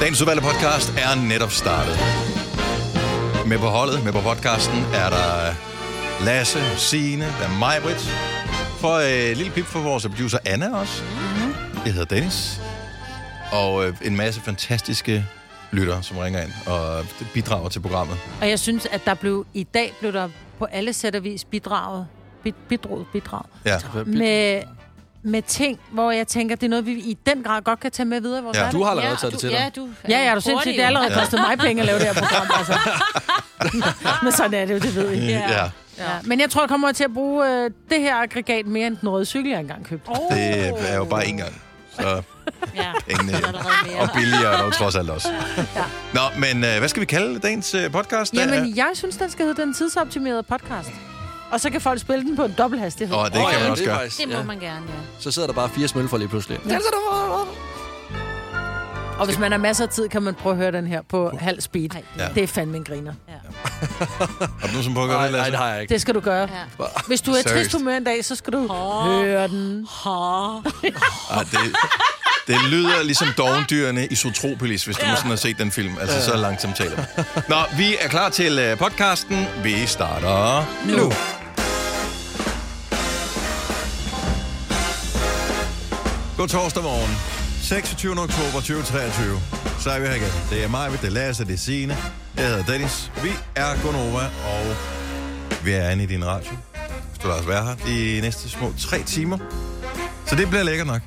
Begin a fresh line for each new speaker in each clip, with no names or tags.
Dagens udvalgte podcast er netop startet. Med på holdet, med på podcasten, er der Lasse, Signe, der er mig, Britt. For øh, lille pip for vores producer Anna også. Jeg hedder Dennis. Og øh, en masse fantastiske lyttere, som ringer ind og bidrager til programmet.
Og jeg synes, at der blev, i dag blev der på alle sæt og vis bidraget, bid, bidraget, bidraget
Ja.
med, med ting, hvor jeg tænker, det er noget, vi i den grad godt kan tage med videre i vores
Ja.
hverdag.
Du har allerede taget det til dig.
Ja, du
Ja, ja, er du sindssygt, det har allerede
Ja.
kostet mig penge at lave det her program, altså. Men sådan er det jo, det ved jeg.
Ja. ja.
Ja. Men jeg tror, jeg kommer til at bruge øh, det her aggregat mere end den røde cykel, jeg engang købte.
Oh.
Det øh, er jo bare en gang. Så
Ja,
pengene
så er der allerede mere.
og billigere dog trods alt også. Nå, men øh, hvad skal vi kalde dagens øh, podcast? Der er-
Jamen, jeg synes, den skal hedde Den Tidsoptimerede Podcast. Og så kan folk spille den på en dobbelt hastighed.
Åh, det
Åh,
kan man
ja,
også
det er
gøre. altså
faktisk-
Det må
ja.
man gerne, ja.
Så sidder der bare fire smølfer lige pludselig.
Og hvis man har masser af tid, kan man prøve at høre den her på halv speed.
Ja.
Det er fandme en griner.
Har du nogen som prøver at gøre
Nej,
det,
nej,
Lasse?
det har jeg ikke.
Det skal du gøre.
Ja.
Hvis du er i trist
Seriøst.
humør en dag, så skal du høre den.
Ej, Ah, det, det lyder ligesom dovendyrene i Zootropolis, hvis du ja. nogensinde har set den film. Altså, så langt som taler. vi. Nå, vi er klar til øh, podcasten. Vi starter nu. nu. God torsdag morgen. 26. oktober 2023. Så er vi her igen. Det er mig, det er Lasse, det er Signe. Jeg hedder Dennis. Vi er Gonova, og vi er inde i din radio. Hvis du lader os være her de næste små tre timer. Så det bliver lækkert nok.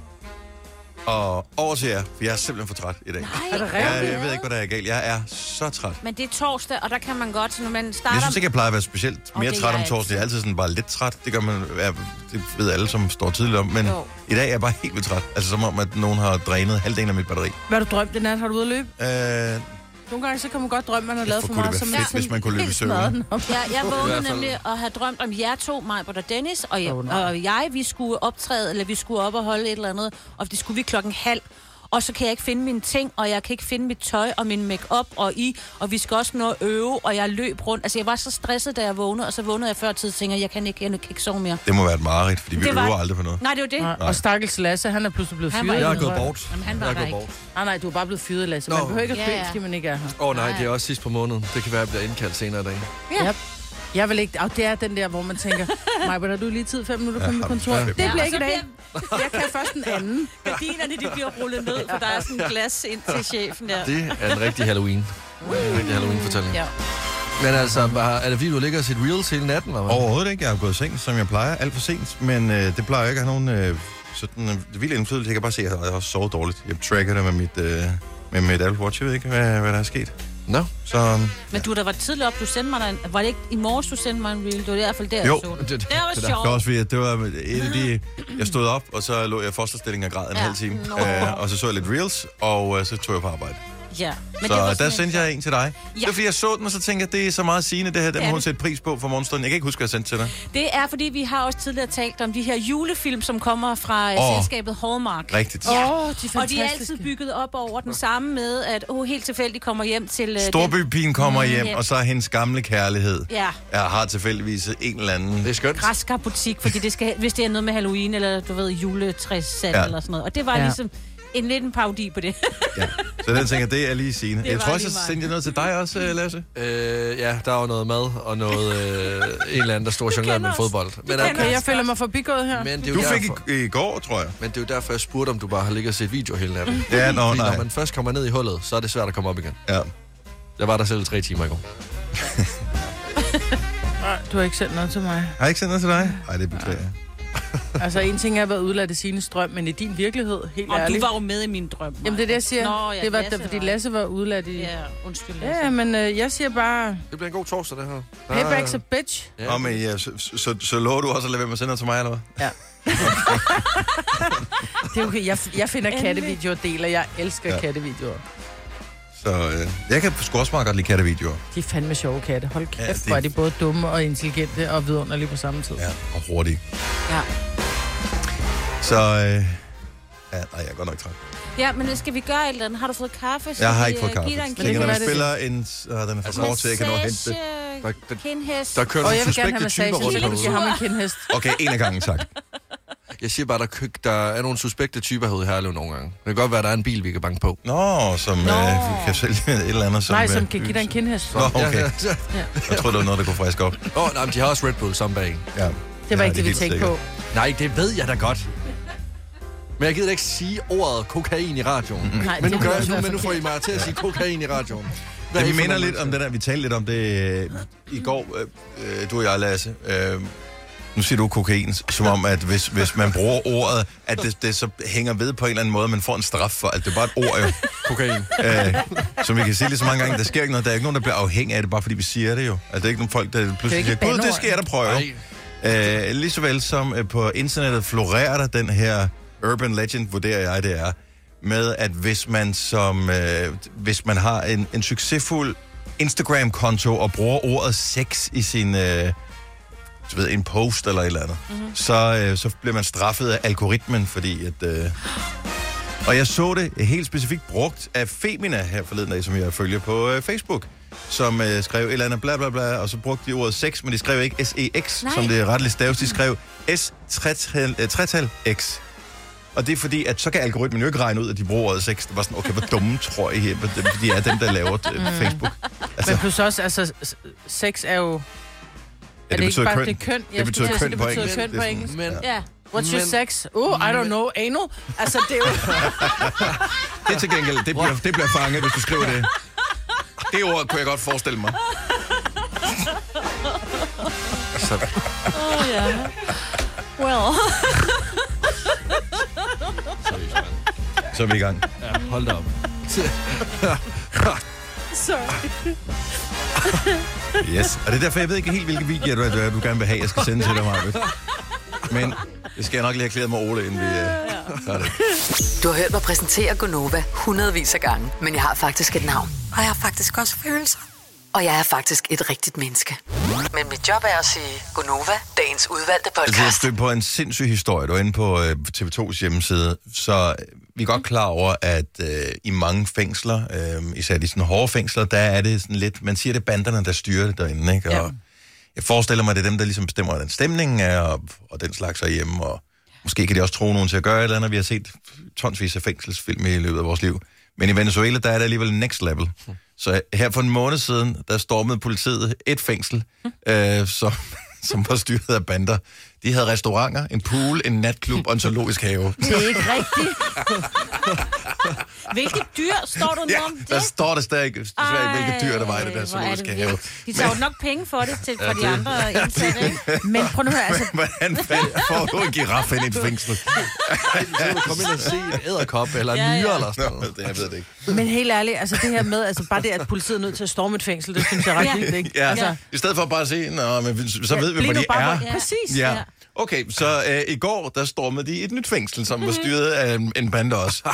Og over til jer, for jeg er simpelthen for træt i dag.
Ej,
Jeg, jeg ved ikke, hvad der er galt. Jeg er så træt.
Men det er torsdag, og der kan man godt, når man starter...
Jeg synes ikke, jeg plejer at være specielt
Og
mere
det er
træt om
jeg
torsdag. Jeg er altid sådan bare lidt træt. Det gør man, ja, det ved alle, som står tidligt om. Men
Jo.
i dag er jeg bare helt vildt træt. Altså som om, at nogen har drænet halvdelen af mit batteri.
Hvad har du drømt den nat? Har du ude at løbe?
Øh,
Nogle gange så kan man godt drømme, man har
Kæft,
lavet
hvor
for
kunne
meget.
det være
så
fedt,
sådan
hvis man kunne løbe i
helt
søvnen.
smadret den op.
Ja, jeg vågnede
hvert fald.
nemlig og havde drømt om jer to, mig, og Dennis, og jeg,
Åh, nej.
og jeg, vi skulle optræde, eller vi skulle op og holde et eller andet, og det skulle vi klokken halv. Og så kan jeg ikke finde mine ting, og jeg kan ikke finde mit tøj og min makeup og i, og vi skal også nå at øve, og jeg løb rundt. Altså, jeg var så stresset, da jeg vågnede, og så vågnede jeg før tid, og tænkte, jeg kan ikke, jeg kan ikke sove mere.
det må være et mareridt, fordi vi
Det var-
øver aldrig på noget.
Nej, det var det.
Nej. Og stakkels Lasse, han er pludselig blevet
Han
fyret.
var ikke
Jeg er
noget
gået
Tror jeg.
bort.
Jamen, han var
jeg er
der
gået
ikke.
bort.
Nej, nej, du er bare blevet fyret, Lasse. Man
Nå.
behøver ikke at
Ja,
spille,
ja.
fordi man ikke er her.
Åh oh, nej, det er også sidst på måneden. Det kan være, at jeg bliver indkaldt senere i dag.
Ja. Jeg vil ikke... Og det er den der, hvor man tænker, Maja, har du lige tid fem minutter på mit kontor?
ja.
Det bliver
og
ikke
så
i dag. Jeg kan først den anden.
Gardinerne, de bliver rullet ned, for der er sådan en glas ind til chefen der.
Det er en rigtig Halloween. En rigtig Halloween-fortælling.
Ja.
Men altså, var, er det fordi, du ligger og set Reels hele natten, var
Overhovedet ikke. Jeg har gået i seng, som jeg plejer, alt for sent. Men øh, det plejer jeg ikke at have nogen øh, sådan, øh, vild indflydelse. Jeg kan bare se, at jeg har også sovet dårligt. Jeg tracker det med mit, øh, med mit Apple Watch. Jeg ved ikke, hvad, hvad der er sket.
Nå,
Så øh,
Men du, der var tidligere op, du sendte mig der en, Var det ikke i morges, du sendte mig en reel? Det var i hvert fald der,
Jo.
jeg så den.
Det-
Det,
det-
var
det der.
det var
sjovt.
også fordi, at det var et af de... Jeg stod op, og så lå jeg i fosterstilling og græd en
Ja.
halv time.
Nå.
Øh, og så så jeg lidt reels, og øh, så tog jeg på arbejde.
Ja.
Men
det var
så
sådan
der
en-
sendte jeg en til dig. Ja.
Ja.
Det var fordi, jeg så den, og så tænkte jeg, det er så meget sigende, det her. Den
Det er
må hun
det.
sætte pris på for morgenstunden. Jeg kan ikke huske, hvad jeg sendte til dig.
Det er, fordi vi har også tidligere talt om de her julefilm, som kommer fra
Åh.
oh. selskabet Hallmark.
Rigtigt.
Åh, oh, de er fantastiske.
Og de er altid bygget op over den samme med, at oh, helt tilfældigt kommer hjem til... øh, den-
Storbypigen kommer
Mm,
hjem,
ja.
og så er hendes gamle kærlighed.
Ja.
Jeg har tilfældigvis en eller anden...
det er skønt.
græskarbutik, fordi det skal, hvis det er noget med Halloween, eller du ved, juletræssal
Ja.
ja. eller sådan noget. Og det var
Ja.
ja. ligesom en lidt en parodi på det.
Ja. Så den tænker, jeg, det er lige sine. Jeg
var
tror også,
lige
jeg
mig.
sendte noget til dig også, øh, Lasse.
Øh, ja, der er jo noget mad og noget, øh, en eller anden, der står og jonglerer med
kender os.
fodbold. Men,
kender
Okay,
okay,
jeg føler mig forbigået her.
men, det er jo
Du fik
derfor,
i, i går, tror jeg.
men det er jo derfor, jeg spurgte, om du bare har ligget og set video hele natten.
Ja, nå,
Fordi
nej.
Når man først kommer ned i hullet, så er det svært at komme op igen.
Ja.
Jeg var der selv i tre timer i går.
Du har ikke sendt noget til mig.
Har jeg ikke sendt noget til dig? Nej, det beklager jeg.
Altså, en ting er at være udladt i sine strøm, men i din virkelighed, helt
Og du
ærligt.
var jo med i min drøm. Maja.
Jamen, det er det, jeg siger.
Nå, ja,
det var,
Lasse
da, fordi
var-
Lasse var udladt i...
Ja, undskyld.
Ja, men øh, jeg siger bare,
Det bliver en god torsdag, det her.
payback's a bitch.
Ja.
Nå, men Ah. ja, så, så, så, så lover du også at lade være med at sende noget til mig, eller hvad?
Det er okay. Jeg, jeg finder
Endelig.
kattevideoer og deler. Jeg elsker
Ja.
ja. kattevideoer.
Så øh, jeg kan sgu også meget godt lide kattevideoer.
De er fandme sjove katte. Hold kæft,
Ja, det-
ja, hvor er de både dumme og intelligente og vidunderlige på samme tid. Ja.
Ja, og hurtige.
Ja.
Så øh, ja, nej, jeg er godt nok træt.
Ja, men skal vi gøre et eller andet? Har du fået kaffe? Skal
Jeg har
vi,
ikke fået
øh,
kaffe.
give dig en
Jeg
det
tænker, når man
kan være, det
spiller øh, en... Åh, den er
Altså,
for kort til, at jeg kan nå at hente det.
Der, der,
Kindhæs.
der kører
Og
nogle
jeg vil gerne have
suspekte
massage,
typer
så
rundt
skal du
herude.
give ham en kindhest.
Okay, en af gangen, tak.
Jeg siger bare, der, kø- der er nogle suspekte typer herude i Herlev nogle gange. Det kan godt være, der er en bil, vi kan banke på.
Nå, som Nå. Øh, kan sælge et eller andet. Som,
Nej,
øh,
som kan give dig en kindhest.
Nå, okay.
Ja, ja.
Jeg tror, det var noget, der kunne friske op.
Åh, oh, nej, men de har også Red Bull sammen bag.
Ja.
Det var
Ja,
ikke det, vi
helt
tænkte
sikkert.
på.
Nej, det ved jeg da godt. Men jeg gider da ikke sige ordet kokain i radioen. Mm-hmm.
Nej,
Men nu
det
gør
var
jeg
også
nu, men nu får I mig til at sige kokain i radioen. Hvad er I
Det
for
minder
nogle
lidt om
mennesker?
den der, vi talte lidt om det øh, i går, øh, øh, du og jeg, Lasse. Øh, nu siger du kokain, som om, at hvis, hvis man bruger ordet, at det, det så hænger ved på en eller anden måde, man får en straf for, at det er bare et ord, jo.
Kokain.
Øh, som vi kan sige lige så mange gange, der sker ikke noget. Der er ikke nogen, der bliver afhængig af det, bare fordi vi siger det jo. Altså, det er ikke nogen folk, der pludselig
ikke
siger,
et
gud, det
bandeord."
skal jeg da prøve.
Nej.
Øh, lige så vel som øh, på internettet florerer der den her urban legend, vurderer jeg, det er, med at hvis man, som, øh, hvis man har en, en succesfuld Instagram-konto og bruger ordet sex i sin... Øh, du ved, en post eller et eller andet, mm-hmm. så, øh, så bliver man straffet af algoritmen, fordi at... Øh, og jeg så det helt specifikt brugt af Femina her forleden dag, som jeg følger på øh, Facebook, som øh, skrev et eller andet bla bla bla, og så brugte de ordet sex, men de skrev ikke S-E-X,
Nej.
som det rettelige staves. De skrev S-tretal-X. Og det er fordi, at så kan algoritmen jo ikke regne ud, at de bruger ordet sex. Det var sådan, okay, hvor dumme tror I, at de er dem, der laver øh, Facebook. Altså,
Men plus også, altså, s- sex er
ja,
jo... er
det,
ikke
betyder
bare-
køn.
Det er køn.
Det betyder
skulle til at sige,
køn på
Det
engelsk.
betyder
Det er sådan-
køn på
Men
engelsk.
Ja.
What's your
Men-
sex? Oh, I don't know. Anal? Altså, det er jo...
Det er til gengæld, det bliver, det bliver fanget, hvis du skriver det. Det ord kunne jeg godt forestille mig.
så,
Åh, ja. Well.
seriøst, mand.
Så er vi i gang.
ja, hold da op.
Yes. Og det er derfor, jeg ved ikke helt, hvilke videoer du, du, du gerne vil have, jeg skal sende til dig, Marvitt. Men det skal jeg nok lige have klædet med Ole, inden vi... Øh, tager det.
Du har hørt mig præsentere Gonova hundredvis af gange, men jeg har faktisk et navn.
Og jeg har faktisk også følelser.
Og jeg er faktisk et rigtigt menneske. Men mit job er at sige Gonova, dagens udvalgte
Altså, jeg
podcast.
stødte på en sindssyg historie. Du var inde på øh, TV2's hjemmeside, så øh, vi er godt klar over, at øh, i mange fængsler, øh, især de sådan hårde fængsler, der er det sådan lidt... Man siger, det er banderne, der styrer det derinde, ikke? Og ja. Jeg forestiller mig, det er dem, der ligesom bestemmer, hvordan stemningen er, og, og den slags er hjemme, og måske kan de også tro nogen til at gøre et eller andet. Vi har set tonsvis af fængselsfilm i løbet af vores liv. Men i Venezuela, der er det alligevel next level. Så her for en måned siden, der stormede politiet et fængsel,
Hm.
øh, som, som var styret af bander. De havde restauranter, en pool, en natklub og en zoologisk have.
Det er ikke rigtigt.
Hvilket dyr står du nu om det?
der står der stadig, desværre ikke, hvilke dyr der var i det der
Ej, hvor er det
zoologiske have.
vildt. De tager jo nok penge for det til, for de andre indsatte, ikke?
Men prøv nu at høre, altså,
Hvordan fanden får du en giraf ind i et fængsel?
Så kan du komme ind og se en æderkop eller en
Ja, ja.
myre eller sådan
Nå,
noget.
det, jeg ved det ikke.
Men helt ærligt, altså det her med, altså bare det, at politiet er nødt til at storme et fængsel, det synes jeg er ret
Ja.
vildt, ikke?
Ja,
Altså,
altså, i stedet for bare at sige, Nå, men vi- så ved vi,
bliv
hvor
nu
de
bare,
er.
hvor- Præcis.
Ja.
Ja.
Okay, så øh, i går, der stormede de et nyt fængsel, som var styret af en, en bande også.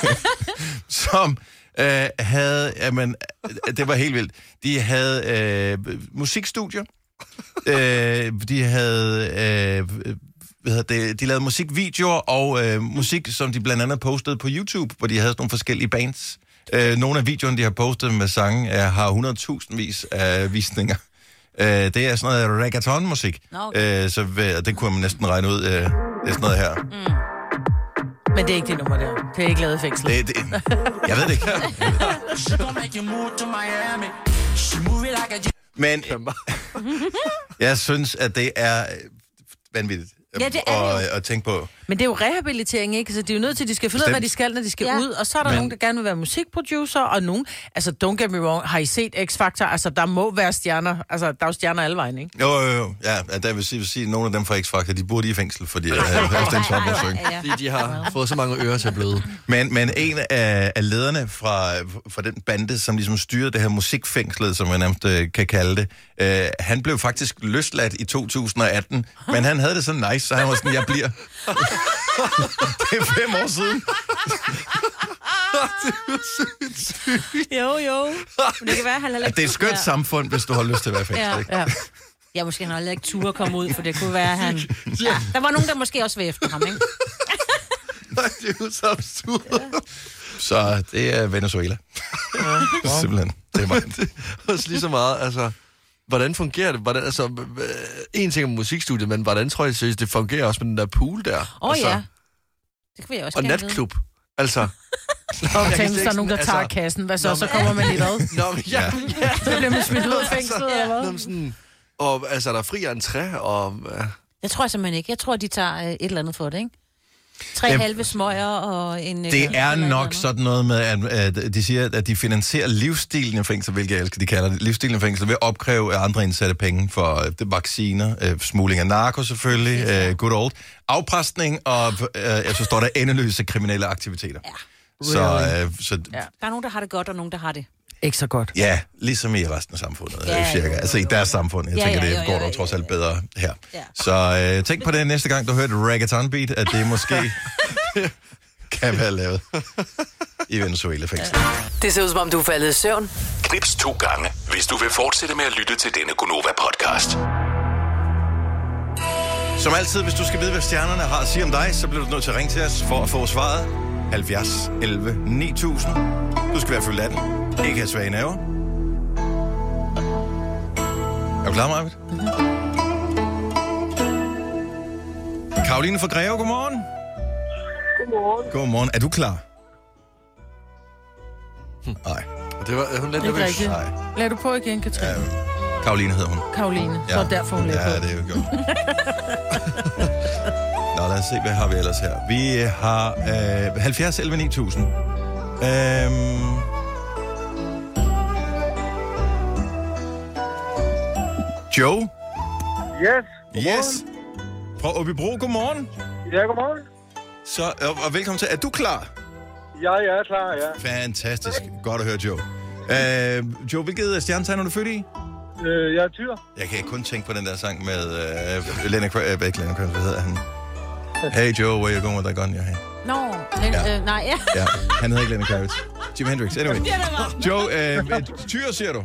som øh, havde, jamen, øh, det var helt vildt. De havde øh, musikstudier. Øh, de havde, øh, hvad hedder det, de lavede musikvideoer og øh, musik, som de blandt andet postede på YouTube, hvor de havde sådan nogle forskellige bands. Øh, nogle af videoerne, de har postet med sange, øh, har 100.000 vis af visninger. Øh, det er sådan noget reggaeton-musik.
Nå, okay. Mm.
Øh, så ved- det kunne man næsten regne ud. Øh, det er sådan noget her.
Men det er ikke det nummer der. Det er ikke lavet i fængsel.
Det, det, jeg ved det ikke. Men jeg synes, at det er øh, vanvittigt øh,
Ja, det er det jo.
at, at tænke på.
Men det er jo rehabilitering, ikke? Så de er jo nødt til, at de skal finde ud af, hvad de skal, når de skal
Ja.
ud. Og så er der
Men-
Men... nogen, der gerne vil være musikproducer, og nogen... Altså, don't get me wrong, har I set X-Factor? Altså, der må være stjerner. Altså, der er jo stjerner alle vejen, ikke?
Jo, jo, jo. Ja, at der vil sige, vil sige, at nogle af dem fra X-Factor, de burde i fængsel, fordi jeg havde hørt den top og synge.
Ja.
Fordi de har fået så mange ører til at bløde.
Men, men en af, af lederne fra, fra den bande, som ligesom styrede det her musikfængslet, som man nærmest øh, kan kalde det, øh, han blev faktisk løsladt i 2018, men han havde det så nice, så han var sådan, jeg bliver. det er fem år siden.
Jo, jo. Men det kan være, han heller
At det er et skønt
ja.
samfund, hvis du har lyst til at være i fængsel.
Ja.
ikke?
Ja.
ja, måske han heller ikke turde komme ud, for det kunne være, han... Ja, der var nogen, der måske også var efter ham, ikke?
Nej, det er jo så absurd. Så det er Venezuela. Simpelthen. Det er mig.
Også lige så meget, altså... Hvordan fungerer det? Hvordan, altså, øh, en ting om musikstudiet, men hvordan tror jeg seriøst, det fungerer også med den der pool der?
Åh oh,
altså,
ja. Det kan vi også
Og
gerne vide.
natklub. Altså... Nå,
Og
men jeg kan
tænk,
slet
hvis der
ikke
er nogen, der
sådan-
tager
altså-
kassen. Hvad så?
Nå,
Så
men-
kommer man i hvad?
Nå, men ja, ja. Altså,
Så bliver man smidt ud af fængslet, eller
Nå,
hvad?
men sådan, og altså, er der fri entré, og... Øh,
Jeg tror jeg simpelthen ikke. Jeg tror, de tager øh, et eller andet for det, ikke? Tre
Jamen,
halve smøger og en... øh,
Det er
eller et
nok
andet.
sådan noget med, at, at de siger, at de finansierer livsstilen i fængsel, hvilket jeg elsker, de kalder det, livsstilen i fængsel, ved at opkræve af andre indsatte penge for øh, det, vacciner, øh, smugling af narko selvfølgelig, øh, good old, afpresning og, øh, ja, så står der endeløse kriminelle aktiviteter. Ja. Så, øh, så ja.
Der er nogen, der har det godt, og nogen, der har det.
Ikke så godt.
ja, ligesom i resten af samfundet,
Ja,
ja,
jo,
cirka. Altså i
jo,
deres
jo.
samfund, jeg
Ja,
tænker,
ja,
det
jo, jo,
går
jo,
dog
jo,
trods
jo,
alt bedre her.
Ja.
Så øh, tænk på det næste gang, du hører et reggaeton-beat, at det måske kan være lavet i Venezuela-fængslet.
Det ser ud som om, du er faldet i søvn.
Knips to gange, hvis du vil fortsætte med at lytte til denne Gonova-podcast.
Som altid, hvis du skal vide, hvad stjernerne har at sige om dig, så bliver du nødt til at ringe til os for at få svaret. 70 11 9000. Du skal være fyldt 18. Ikke have svage naver. Er du klar, Marvitt? Mm-hmm. Karoline fra Greve, godmorgen.
Godmorgen.
Godmorgen. Er du klar? Nej,
Hm. det var hun er lidt
Ikke
nervøs.
rigtigt.
nej.
Lad du på igen, Katrine. Ja.
Karoline hedder hun.
Karoline. Ja. Så derfor hun lader
ja,
på.
det er jo godt. Nå, lad os se, hvad har vi ellers her. Vi har øh, 70 11 9000. Øhm, Joe?
Yes.
Yes. Fra Åbibro, godmorgen.
Ja, godmorgen.
Så, øh, og, og velkommen til. Er du klar?
Ja, jeg er klar, ja.
Fantastisk. Godt at høre, Joe. Øh, Joe, hvilket stjernetegn er du født i?
Øh, jeg er tyr.
Jeg kan kun tænke på den der sang med øh, Lenny Kravitz, øh, ikke Lenny Kravitz, hvad hedder han? Hey Joe, where you going with that gun in your hand?
Nå, men,
Ja.
ja. øh, nej, ja.
Ja, han hedder ikke Lenny Kravitz. Jim Hendrix, anyway. Joe, øh, øh, tyr siger du.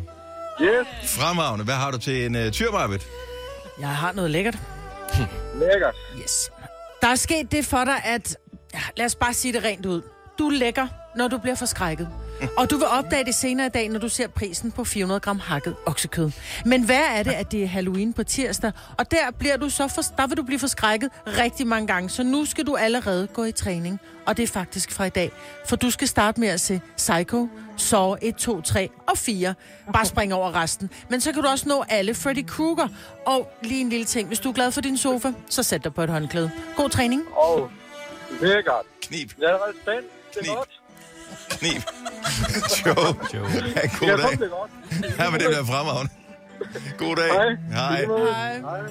Yes.
Fremragende. Hvad har du til en øh, tyrmarbet?
Jeg har noget lækkert.
Lækkert.
Yes. Der er sket det for dig, at... ja, Lad os bare sige det rent ud. Du er lækker, når du bliver forskrækket. Og du vil opdage det senere i dag, når du ser prisen på 400 gram hakket oksekød. Men hvad er det, at det er Halloween på tirsdag? Og der, bliver du så for, der vil du blive forskrækket rigtig mange gange. Så nu skal du allerede gå i træning. Og det er faktisk fra i dag. For du skal starte med at se Psycho, Saw 1, 2, 3 og 4. Bare spring over resten. Men så kan du også nå alle Freddy Krueger. Og lige en lille ting. Hvis du er glad for din sofa, så sæt dig på et håndklæde. God træning.
Og lækkert.
Knib,
Jeg er allerede spændt. Det er
Knib.
godt.
knib. Joe, Joe. Ha' en
Jeg
god
kom
dag.
det er godt.
Ja, men det bliver fremragende. God dag.
Hej.
Hej.
Hej.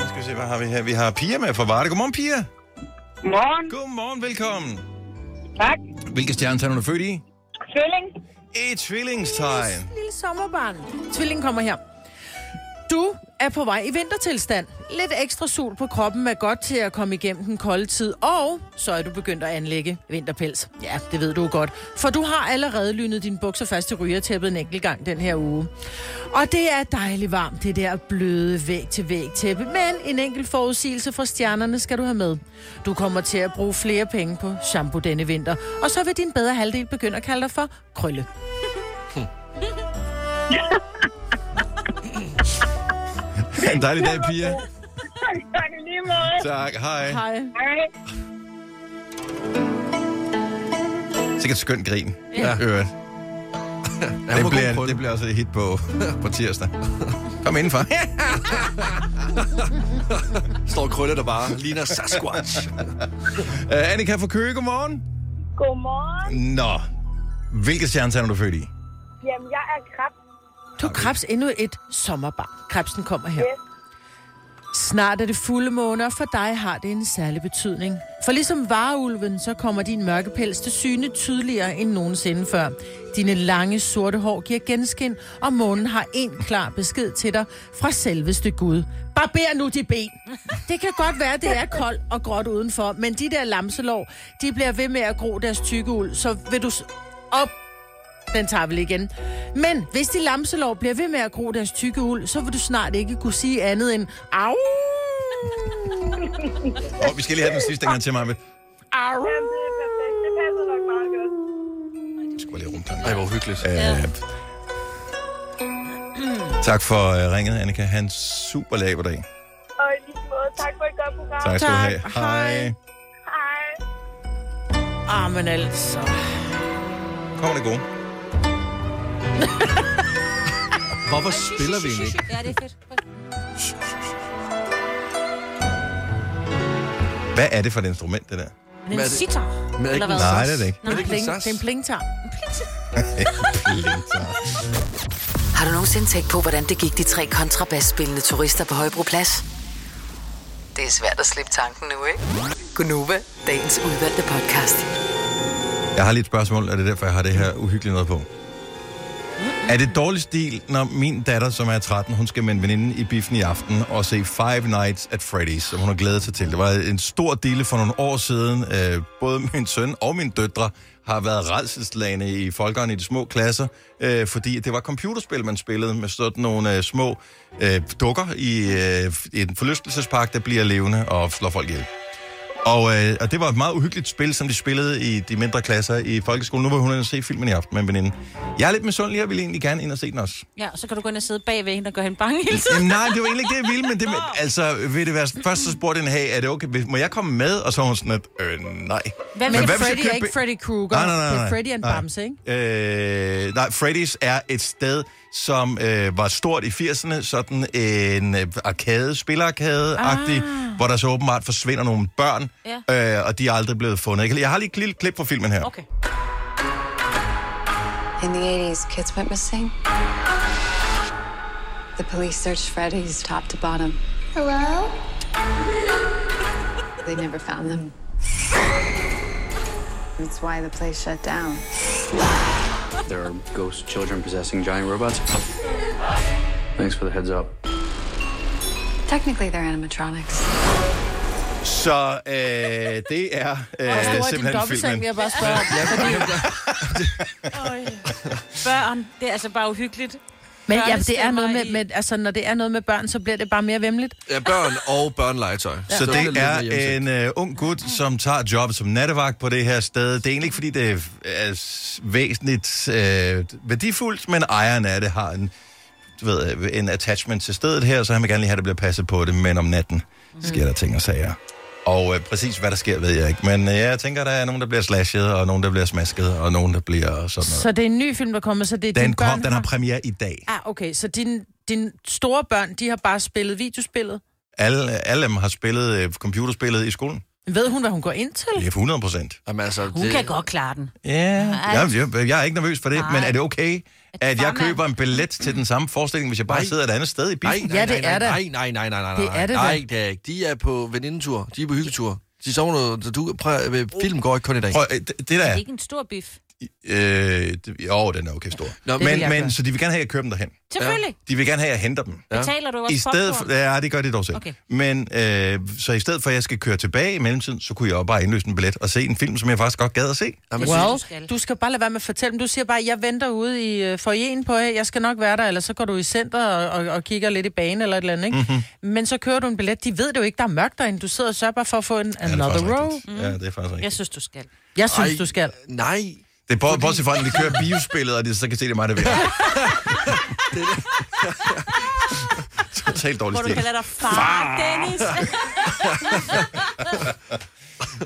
Nu skal vi se, hvad har vi her? Vi har Pia med fra Varde. Godmorgen, Pia.
Morgen,
Godmorgen, velkommen.
tak.
Hvilke stjernetegn er du født i?
Føling.
Et tvillingstegn.
lille sommerbarn. Tvillingen kommer her. Du er på vej i vintertilstand. Lidt ekstra sol på kroppen er godt til at komme igennem den kolde tid, og så er du begyndt at anlægge vinterpels. Ja, det ved du jo godt, for du har allerede lynet dine bukser fast i rygertæppet en enkelt gang den her uge. Og det er dejligt varmt, det der bløde væg til væg tæppe, men en enkelt forudsigelse fra stjernerne skal du have med. Du kommer til at bruge flere penge på shampoo denne vinter, og så vil din bedre halvdel begynde at kalde dig for krølle.
Ha' en dejlig dag, Pia.
Tak i lige måde.
Tak, hej.
Hej.
Hej.
Sikkert skønt grin.
Ja.
Øvrigt.
Han var
Det
god
bliver,
på
det bliver også et hit på, på tirsdag. Kom indenfor.
Står krølle der bare, ligner Sasquatch.
Uh, Annika fra Køge, godmorgen.
Godmorgen.
Nå, hvilke stjernetegn er du født i?
Jamen, jeg er krab.
Du er krebs endnu et sommerbarn. Krebsen kommer her. Snart er det fulde måne, og for dig har det en særlig betydning. For ligesom vareulven, så kommer din mørke pels til syne tydeligere end nogensinde før. Dine lange sorte hår giver genskin, og månen har en klar besked til dig fra selveste Gud. Barber nu de ben! Det kan godt være, det er koldt og gråt udenfor, men de der lamselår, de bliver ved med at gro deres tykke uld, så vil du s- op den tager vi lige igen. Men hvis de lamselår bliver ved med at gro deres tykke uld, så vil du snart ikke kunne sige andet end au,
Oh, vi skal lige have den sidste gang til mig.
au.
Jamen, det er perfekt. Det passer nok meget godt.
skal bare lige rundt.
Ej, hvor hyggeligt.
Øh, tak for øh, ringet, Annika. Ha' en super laber dag.
Og i lige måde, tak for et godt program.
Tak skal du
Tak.
have.
Hej.
Hej.
Hej.
Ah, men altså.
Kommer det gode.
Hvorfor spiller vi egentlig ikke?
Ja, det er fedt.
Hvad er det for et instrument, det der?
Hvad er
Men en
det?
sitar.
Men er det
Eller
ikke en
hvad?
Nej, det er det ikke.
Er det ikke en
Pling,
sas?
det er en plingtarm.
Blinktar.
Har du nogensinde tænkt på, hvordan det gik de tre kontrabasspillende turister på Højbroplads? Det er svært at slippe tanken nu, ikke? Gunova, dagens udvalgte podcast.
Jeg har lige et spørgsmål, og det er derfor, jeg har det her uhyggeligt noget på. Er det dårlig stil, når min datter, som er 13, hun skal med en veninde i biffen i aften og se Five Nights at Freddy's, som hun har glædet sig til. Det var en stor dille for nogle år siden. Øh, både min søn og mine døtre har været redselslagende i folkeren i de små klasser, øh, fordi det var computerspil, man spillede med sådan nogle øh, små øh, dukker i øh, en forlystelsespark, der bliver levende og slår folk ihjel. Og, øh, og det var et meget uhyggeligt spil, som de spillede i de mindre klasser i folkeskolen. Nu var hun inde og se filmen i aften med en veninde. Jeg er lidt misundelig, jeg ville egentlig gerne ind og se den også.
Ja, og så kan du gå ind og sidde bag ved hende og gøre hende bange hele tiden.
Jamen, nej, det var egentlig ikke det, jeg ville, men det, altså, vil det være, først så spurgte den, hey, er det okay, vil- må jeg komme med? Og så var hun sådan, at, øh, nej.
Hvad
Men
men
hvad hvis jeg
Freddy er
køber
ikke
bi-
Freddy Krueger.
Nej, nej, nej,
Det
nej.
er Freddy and
Nej.
Bamse, ikke?
Øh, nej, Freddy's er et sted, som øh, var stort i 80'erne, sådan en øh, arcade, spillerarkade-agtig, ah. hvor der så åbenbart forsvinder nogle børn, ja. øh, og de er aldrig blevet fundet. Jeg kan- Jeg har lige et lille klip fra filmen her.
Okay.
In the 80s, kids went missing. The police searched Freddy's top to bottom.
Hello?
They never found them. That's why the place shut down.
There are ghost children possessing giant robots. Thanks for the heads up.
Technically, they're animatronics.
Så øh, det er
Hvor stor
øh,
er din
simpelthen
dobbeltseng,
filmen.
vil jeg bare spørge om.
Børn, det er altså bare uhyggeligt.
Men ja,
Børnestemmer
det er noget med,
i-
med, altså, når det er noget med børn, så bliver det bare mere vemmeligt.
Ja, børn og børnelegetøj.
Så
er lidt
det
mere
er en
hjemsendt.
øh, ung gut, som tager job som nattevagt på det her sted. Det er egentlig ikke, fordi det er s- væsentligt øh, værdifuldt, men ejeren af det har en, du ved, øh, en attachment til stedet her, så han vil gerne lige have, at det bliver passet på det, men om natten
Mm.
sker der ting og sager. Og øh, præcis hvad der sker, ved jeg ikke. Men øh, jeg tænker, der er nogen, der bliver slashet, og nogen, der bliver smasket, og nogen, der bliver sådan noget.
Så det er en ny film, der kommer, så det er
Den,
dine børn
kom, den har
har-
premiere i dag.
Ah, okay, så dine din store børn, de har bare spillet videospillet.
Alle, alle dem har spillet øh, computerspillet i skolen.
Ved hun, hvad hun går ind til?
Det er 100 procent.
Jamen, altså,
Hun
det...
kan godt klare den.
Ja,
Nej.
Jamen, jeg, jeg er ikke nervøs for det,
Nej.
men er det okay, at jeg
farmand-
køber en billet til den samme forestilling, hvis jeg bare
Nej.
sidder et andet sted i
Nej,
bilen?
nej,
Ja, det
nej,
er det.
nej, nej, nej, nej, nej, nej,
Det er det da.
nej, det er ikke. De er på venindetur. De er på hyggetur. De sover noget, så du, prøv, øh, film går ikke kun i dag.
Prøv, øh, det, det der
Det
er...
er ikke en stor biff.
Øh, det, jo, den er okay stor.
Nå,
vil
Men,
jeg
men
gøre.
så de vil gerne have, at jeg kører dem derhen.
Selvfølgelig.
De vil gerne have, at jeg henter dem.
Ja. Betaler du også
I stedet for,
popcorn?
ja, det gør de dog selv.
Okay.
Men, øh, så i stedet for, at jeg skal køre tilbage i mellemtiden, så kunne jeg jo bare indløse en billet og se en film, som jeg faktisk godt gad at se.
Jamen,
synes,
Well,
du skal.
du skal bare lade være med at fortælle dem. Du siger bare, jeg venter ude i uh, foyeren på jer, jeg skal nok være der, eller så går du i center og, og, og kigger lidt i banen eller et eller andet, ikke?
Mhm.
Mm-hmm. Men så kører du en billet. De ved det jo ikke, der er mørkt derinde. Du sidder og sørger bare for at få en
Ja, det er
another
faktisk
row.
rigtigt. Ja, det er faktisk
Jeg
rigtigt.
synes, du skal.
Jeg synes,
Ej,
du skal.
Nej,
Det er bort- bortset fra, at de kører biospillet, og de så kan se, det er mig, der vil. Totalt dårlig
Hvor du
stil.
kalder dig far, far. Dennis.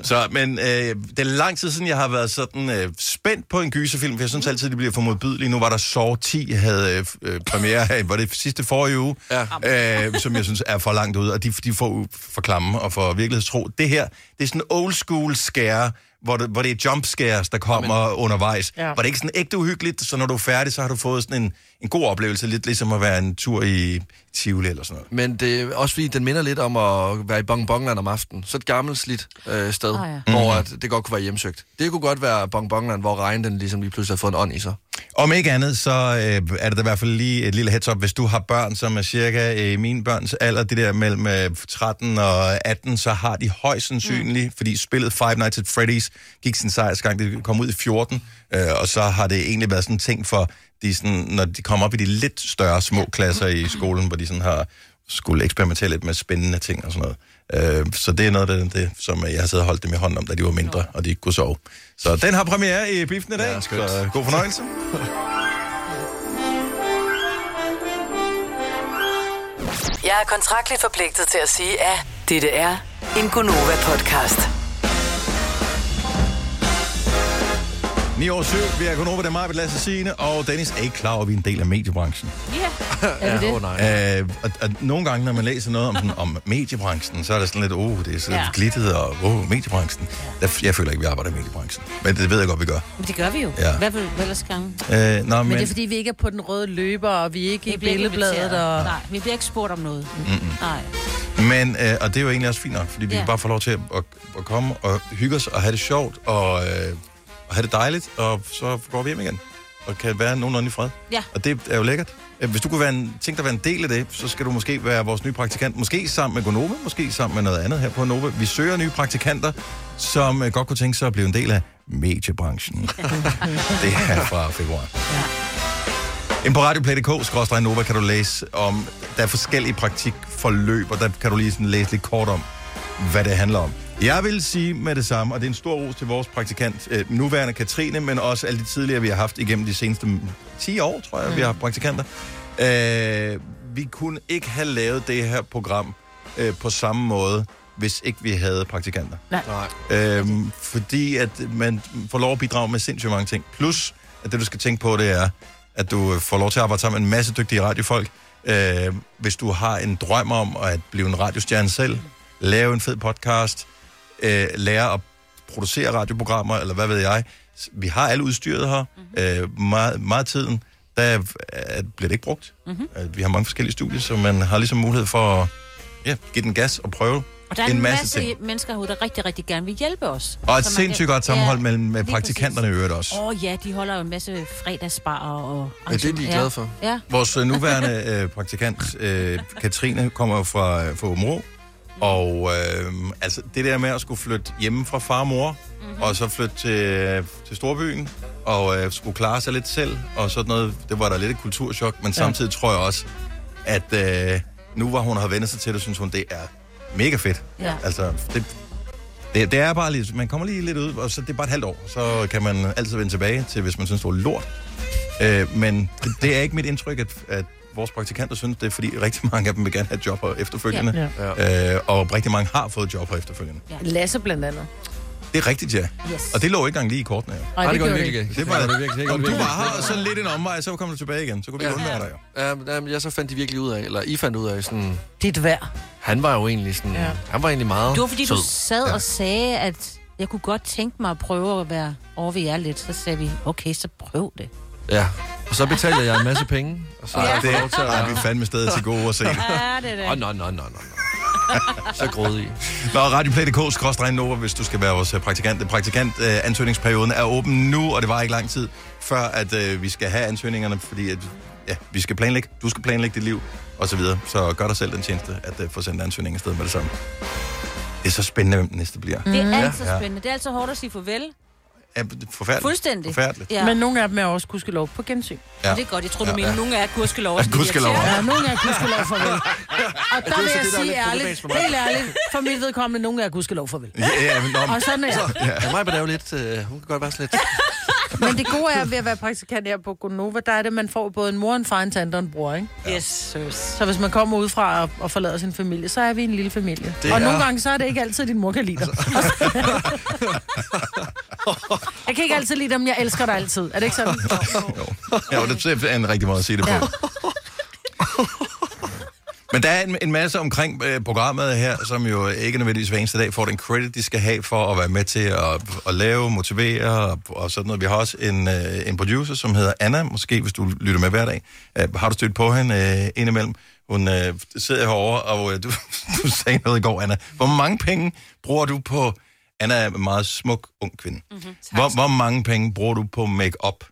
Så, men øh, det er lang tid siden, jeg har været sådan øh, spændt på en gyserfilm, for jeg synes altid, det bliver for modbydeligt. Nu var der Saw 10, havde øh, øh, premiere her, var det sidste forrige uge, ja. øh, som jeg synes er for langt ud, og de, de får u- for klamme og for virkelighedstro. Det her, det er sådan old school scare, hvor det, hvor det er jump scares, der kommer Jamen. undervejs. Ja.
Ja.
Var det ikke sådan ægte uhyggeligt, så når du er færdig, så har du fået sådan en, en god oplevelse, lidt ligesom at være en tur i Tivoli eller sådan noget.
men det er også fordi, den minder lidt om at være i Bongbongland om aftenen. Så et gammelt slidt øh, sted,
Ah, ja.
oh, ja. hvor
Mm.
at det godt kunne være hjemsøgt. Det kunne godt være Bongbongland, hvor regnen den ligesom lige pludselig har fået en ånd i sig.
Om ikke andet, så øh, er det da i hvert fald lige et lille heads up, hvis du har børn, som er cirka øh, mine børns alder, det der mellem øh, 13 og 18, så har de højst sandsynligt, mm. fordi spillet Five Nights at Freddy's gik sin sejrsgang, det kom ud i 14, øh, og så har det egentlig været sådan en ting for, de sådan, når de kommer op i de lidt større små klasser i skolen, hvor de sådan har skulle eksperimentere lidt med spændende ting og sådan noget. Øh, så det er noget af det, som øh, jeg har siddet og holdt dem i hånden om, da de var mindre, og de ikke kunne sove. Så den har premiere i biffen i dag, ja, så god fornøjelse.
Jeg er kontraktligt forpligtet til at sige, at dette er en Gunova-podcast.
9 år 7, vi er kun over, det er mig, Lasse Signe, og Dennis er ikke klar over, at vi er en del af mediebranchen.
Er det det?
Øh, og, og nogle gange, når man læser noget om, sådan, om mediebranchen, så er det sådan lidt, åh, oh, det er så
Ja.
ja. glittet, og åh, oh, mediebranchen. Der, jeg føler ikke, vi arbejder i mediebranchen. Men det ved jeg godt, vi gør.
Men det gør vi jo.
Ja.
Hvad vil du ellers gange?
Øh, nå,
Men,
men,
men det er, fordi vi ikke er på den røde løber, og vi er ikke i
Vi bliver ikke
billedbladet.
inviteret.
Og...
Nej, vi bliver ikke spurgt om noget.
Mm-mm.
Nej.
men øh, og det er jo egentlig også fint nok, fordi vi
Ja.
kan bare får lov til at, at, at komme og hygge os og have det sjovt og, øh, og have det dejligt, og så går vi hjem igen og kan være nogenlunde i fred.
Ja.
Og det er jo lækkert. Øh, Hvis du kunne være en, tænke dig at være en del af det, så skal du måske være vores nye praktikant. Måske sammen med Gonova, måske sammen med noget andet her på Nova. Vi søger nye praktikanter, som øh, godt kunne tænke sig at blive en del af mediebranchen. det er fra februar. Ind på radioplay.dk, Nova, kan du læse om, der er forskellige praktikforløb, og der kan du lige sådan læse lidt kort om, hvad det handler om. Jeg vil sige med det samme, og det er en stor ros til vores praktikant, øh, nuværende Katrine, men også alle de tidligere, vi har haft igennem de seneste 10 år, tror jeg, mm. vi har haft praktikanter. Øh, vi kunne ikke have lavet det her program øh, på samme måde, hvis ikke vi havde praktikanter.
Nej.
Øhm, fordi at man får lov at bidrage med sindssygt mange ting. Plus, at det du skal tænke på, det er, at du øh, får lov til at arbejde sammen med en masse dygtige radiofolk. Øh, hvis du har en drøm om at blive en radiostjerne selv, lave en fed podcast, øh, lære at producere radioprogrammer, eller hvad ved jeg. S- Vi har alle udstyret her.
Mhm.
Øh, meget, meget af tiden, der øh, bliver det ikke brugt.
Mhm.
Øh, vi har mange forskellige studier, så man har ligesom mulighed for at ja, give den gas og prøve
Og der er en, masse, masse mennesker herude, der rigtig, rigtig gerne vil hjælpe os.
og et
Så man
sindssygt
kan-
godt sammenhold
Ja,
mellem med
lige
praktikanterne i øvrigt
præcis.
også.
Åh oh, ja, de holder jo en masse fredagsbar og...
Ja, det er de glade for.
Ja.
Vores øh, nuværende øh, praktikant, øh, Katrine, kommer fra, øh, fra Områ. Og øh, altså, det der med at skulle flytte hjemme fra far og mor,
Mhm.
mm-hmm. og så flytte til, til storbyen, og øh, skulle klare sig lidt selv, og sådan noget, det var da lidt et kulturschok. Men
Ja.
samtidig tror jeg også, at øh, nu hvor hun har vendt sig til det, synes hun, det er mega fedt.
Ja.
Altså, det, det, det er bare lige, man kommer lige lidt ud, og så det er bare et halvt år, så kan man altid vende tilbage til, hvis man synes, det var lort. Øh, men det, det er ikke mit indtryk, at, at vores praktikanter synes det, er, fordi rigtig mange af dem vil gerne have job her efterfølgende.
Ja.
Ja. Øh, og rigtig mange har fået job her efterfølgende.
Lasse blandt andet.
Det er rigtigt, ja.
Yes.
Og det lå ikke engang lige i kortene. jo.
Nej, det det gjorde det
virkelig ikke. ikke.
Det var
Det
det
gjorde det virkelig
virkelig
ikke.
Om
Det
du
gjorde det
var her, og
virkelig
så lidt en omvej, så kom du tilbage igen. Så kunne vi ja. undvære dig jo.
Ja, jamen, ja, så fandt de virkelig ud af, eller I fandt ud af sådan...
Dit værd.
Han var jo egentlig sådan...
Ja.
Ja. Han var egentlig meget
Det var fordi, du
sød.
sad og sagde, at jeg kunne godt tænke mig at prøve at være over ved jer lidt. Så sagde vi, okay, så prøv det.
Ja, og så betaler jeg en masse penge. Og så
Ej,
ja.
det er vi fandme stadig til gode at se.
Ja, det er det.
Åh, nej, nej, nej, nej. Så grådig.
Nå, radioplay.dk, skråstrej Nova, hvis du skal være vores øh, praktikant. Øh, Praktikant, øh, ansøgningsperioden er åben nu, og det var ikke lang tid, før at øh, vi skal have ansøgningerne, fordi at, ja, vi skal planlægge, du skal planlægge dit liv, og så videre. Så gør dig selv den tjeneste, at øh, få sendt ansøgningen afsted med det samme. Det er så spændende, hvem den næste bliver. Mm.
Det er altid spændende. Det er altid hårdt at sige farvel.
Ja, det er forfærdeligt.
Fuldstændig.
Forfærdeligt.
Ja.
Men nogle af dem er også gudskelov på gensyn.
Ja.
Og det er godt. Jeg tror, du
Ja,
mener,
ja.
nogle af gudskelov.
Ja, gudskelov.
Ja, nogle af gudskelov farvel. Og
det er
der vil
så
jeg
det, der er
sige
lidt
ærligt,
problematisk for mig.
helt ærligt, for mit vedkommende, nogle af gudskelov farvel.
Ja, ja, men nå,
Og sådan er jeg.
Ja. Ja, Majbert er jo lidt... Øh, hun kan godt være sådan lidt...
Men det gode er ved at være praktikant her på Gonova, der er det, at man får både en mor, en far, en tante og en bror, ikke?
Yes.
Så hvis man kommer udefra og, og forlader sin familie, så er vi en lille familie.
Det
Det og
er- Altså.
nogle gange, så er det ikke altid, at din mor kan lide dig. jeg kan ikke altid lide dem, jeg elsker dig altid. Er det ikke sådan?
Ja, og det er en rigtig måde at sige det på. Men der er en, en masse omkring øh, programmet her, som jo ikke nødvendigvis hver eneste dag får den credit, de skal have for at være med til at, at lave, motivere og, og sådan noget. Vi har også en, øh, en producer, som hedder Anna, måske hvis du lytter med hver dag. Øh, har du stødt på hende øh, indimellem? Hun øh, sidder herovre, og øh, du, du sagde noget i går, Anna. Hvor mange penge bruger du på... Anna er en meget smuk ung kvinde. Mm-hmm. Hvor, hvor mange penge bruger du på make-up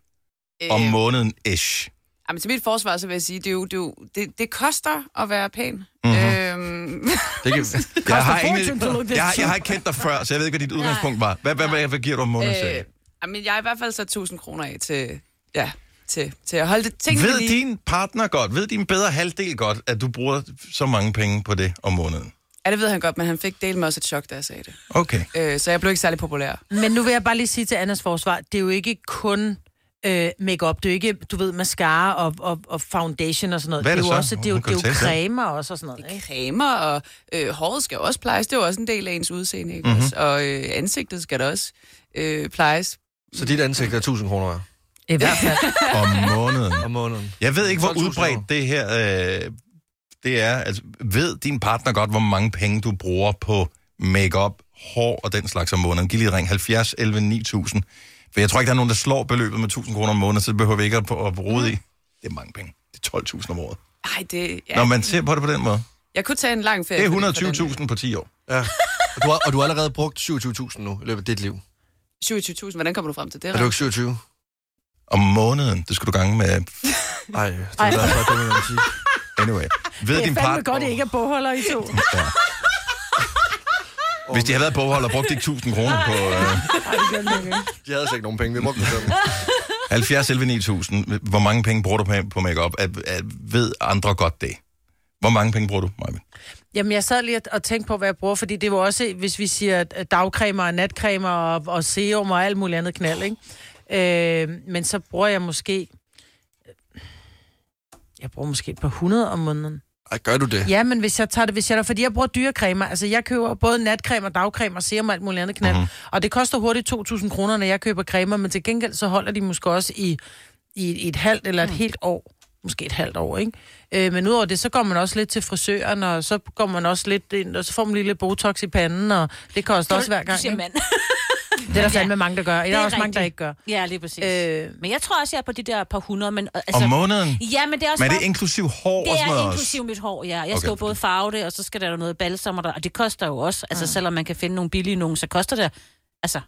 om
Øh,
måneden ish?
Jamen, til mit forsvar, så vil jeg sige, det, er jo, det, er jo, det, det koster at være pæn.
Mhm.
Mm-hmm. Øhm,
Det kan... jeg, har
fortune
ingen...
til at lukke det
jeg, har-
til.
jeg har ikke kendt dig før, så jeg ved ikke, hvad dit udgangspunkt var. Hvad, hvad, hvad, hvad giver du om måneden? Øh,
øh, jamen, jeg har i hvert fald sat 1000 kroner af til, ja, til, til at holde det tingene
Ved
lige.
din partner godt, ved din bedre halvdel godt, at du bruger så mange penge på det om måneden?
Ja, det ved han godt, men han fik del med også et chok, da jeg sagde det.
Okay.
Øh, så jeg blev ikke særlig populær.
Men nu vil jeg bare lige sige til Annas forsvar, det er jo ikke kun øh, makeup, det er jo ikke, du ved, mascara og, og, og foundation og sådan noget.
Hvad er det
det er jo
så?
også, det er jo,
Hun
det
kan
er jo
jo tale selv.
cremer også og sådan noget. Ikke?
Cremer, og øh, håret skal jo også plejes. Det er jo også en del af ens udseende, ikke
Mhm.
mm-hmm. også? Og øh, ansigtet skal da også øh, plejes.
Så dit ansigt er 1000 kroner værd?
I hvert fald.
Om måneden.
Om måneden.
Jeg ved ikke, hvor udbredt det her øh, det er. Altså, ved din partner godt, hvor mange penge du bruger på makeup, hår og den slags om måneden? Giv lige et ring 70 11 9000. For jeg tror ikke, der er nogen, der slår beløbet med 1000 kroner om måneden, så det behøver vi ikke at, at bruge i. Det er mange penge. Det er 12.000 om året.
Ej, det...
Ja. Når man ser på det på den måde.
Jeg kunne tage en lang ferie.
Det
for for den.
er 120.000 på 10 år.
Ja. Og du, har, og du har allerede brugt 27.000 nu i løbet af dit liv.
27.000, hvordan kommer du frem til det?
Er du ikke 27?
Om måneden, det skulle du gange med...
Nej, det
Ej.
er derfor, det vil man sige.
Anyway. Ved
det er
din
fandme
partner...
godt, at I ikke er bogholder i to.
Hvis de havde været bogholder og brugt de 1000 kroner på... Øh,
De havde altså ikke nogen penge, vi brugte dem selv.
70 11 9000. Hvor mange penge bruger du på, på makeup? Er, er, ved andre godt det? Hvor mange penge bruger du, Maja?
Jamen, jeg sad lige og- og tænkte på, hvad jeg bruger, fordi det var også, hvis vi siger at dagcremer og natcremer og, og serum og alt muligt andet knald, ikke? Øh, men så bruger jeg måske... Jeg bruger måske et par hundrede om måneden.
Ej, gør du det?
Ja, men hvis jeg tager det, hvis jeg der, fordi jeg bruger dyre cremer, altså jeg køber både natcreme og dagcreme og serum og alt muligt andet knald, mm-hmm. og det koster hurtigt 2.000 kroner, når jeg køber cremer, men til gengæld så holder de måske også i, i, et- i et halvt eller et mm. helt år, måske et halvt år, ikke? Øh, men udover det, så går man også lidt til frisøren, og så går man også lidt ind, og så får man lige lidt botox i panden, og det koster også hver
Du
gang,
siger
ikke?
mand.
Det er der fandme mange, der gør. Der er, er også mange, der ikke gør.
Ja, lige præcis. Øh, men jeg tror også, jeg er på de der par hundrede. Men, øh, altså-
Om måneden?
Ja, men det er også
Men er det
bare-
inklusiv hår og
Det
sådan
er
noget
inklusiv mit hår, ja. Jeg okay.
Okay.
skal jo både farve det, og så skal der jo noget balsam, og, der, og det koster jo også.
Ah.
Altså, selvom man kan finde nogle billige nogen, så koster det... Altså,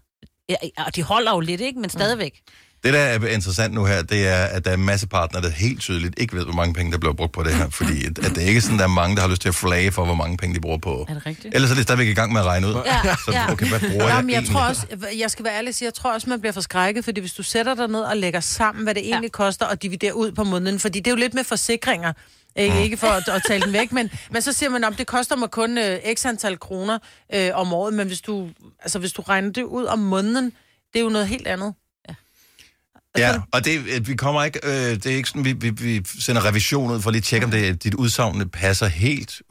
ja, og de holder jo lidt, ikke? Men
Mm.
stadigvæk.
også? Det, der er interessant nu her, det er, at der er en masse partner, der helt tydeligt ikke ved, hvor mange penge, der bliver brugt på det her. Fordi at, at det er ikke sådan, der er mange, der har lyst til at flage for, hvor mange penge, de bruger på.
Er det rigtigt?
Ellers er det stadigvæk i gang med at regne ud. Så, okay, hvad bruger jeg,
Jamen, jeg tror
egentlig?
også, jeg skal være ærlig og sige, jeg tror også, man bliver forskrækket, fordi hvis du sætter dig ned og lægger sammen, hvad det egentlig koster, og dividerer ud på måneden, fordi det er jo lidt med forsikringer,
Mm.
ikke, ikke for at, at tale den væk, men, men så siger man, om det koster mig kun øh, x antal kroner øh, om året, men hvis du, altså, hvis du regner det ud om måneden, det er jo noget helt andet.
Ja, og det, øh, vi kommer ikke, øh, det er ikke sådan, vi, vi, vi sender revision ud for at lige at tjekke, om det, dit udsagn det passer helt.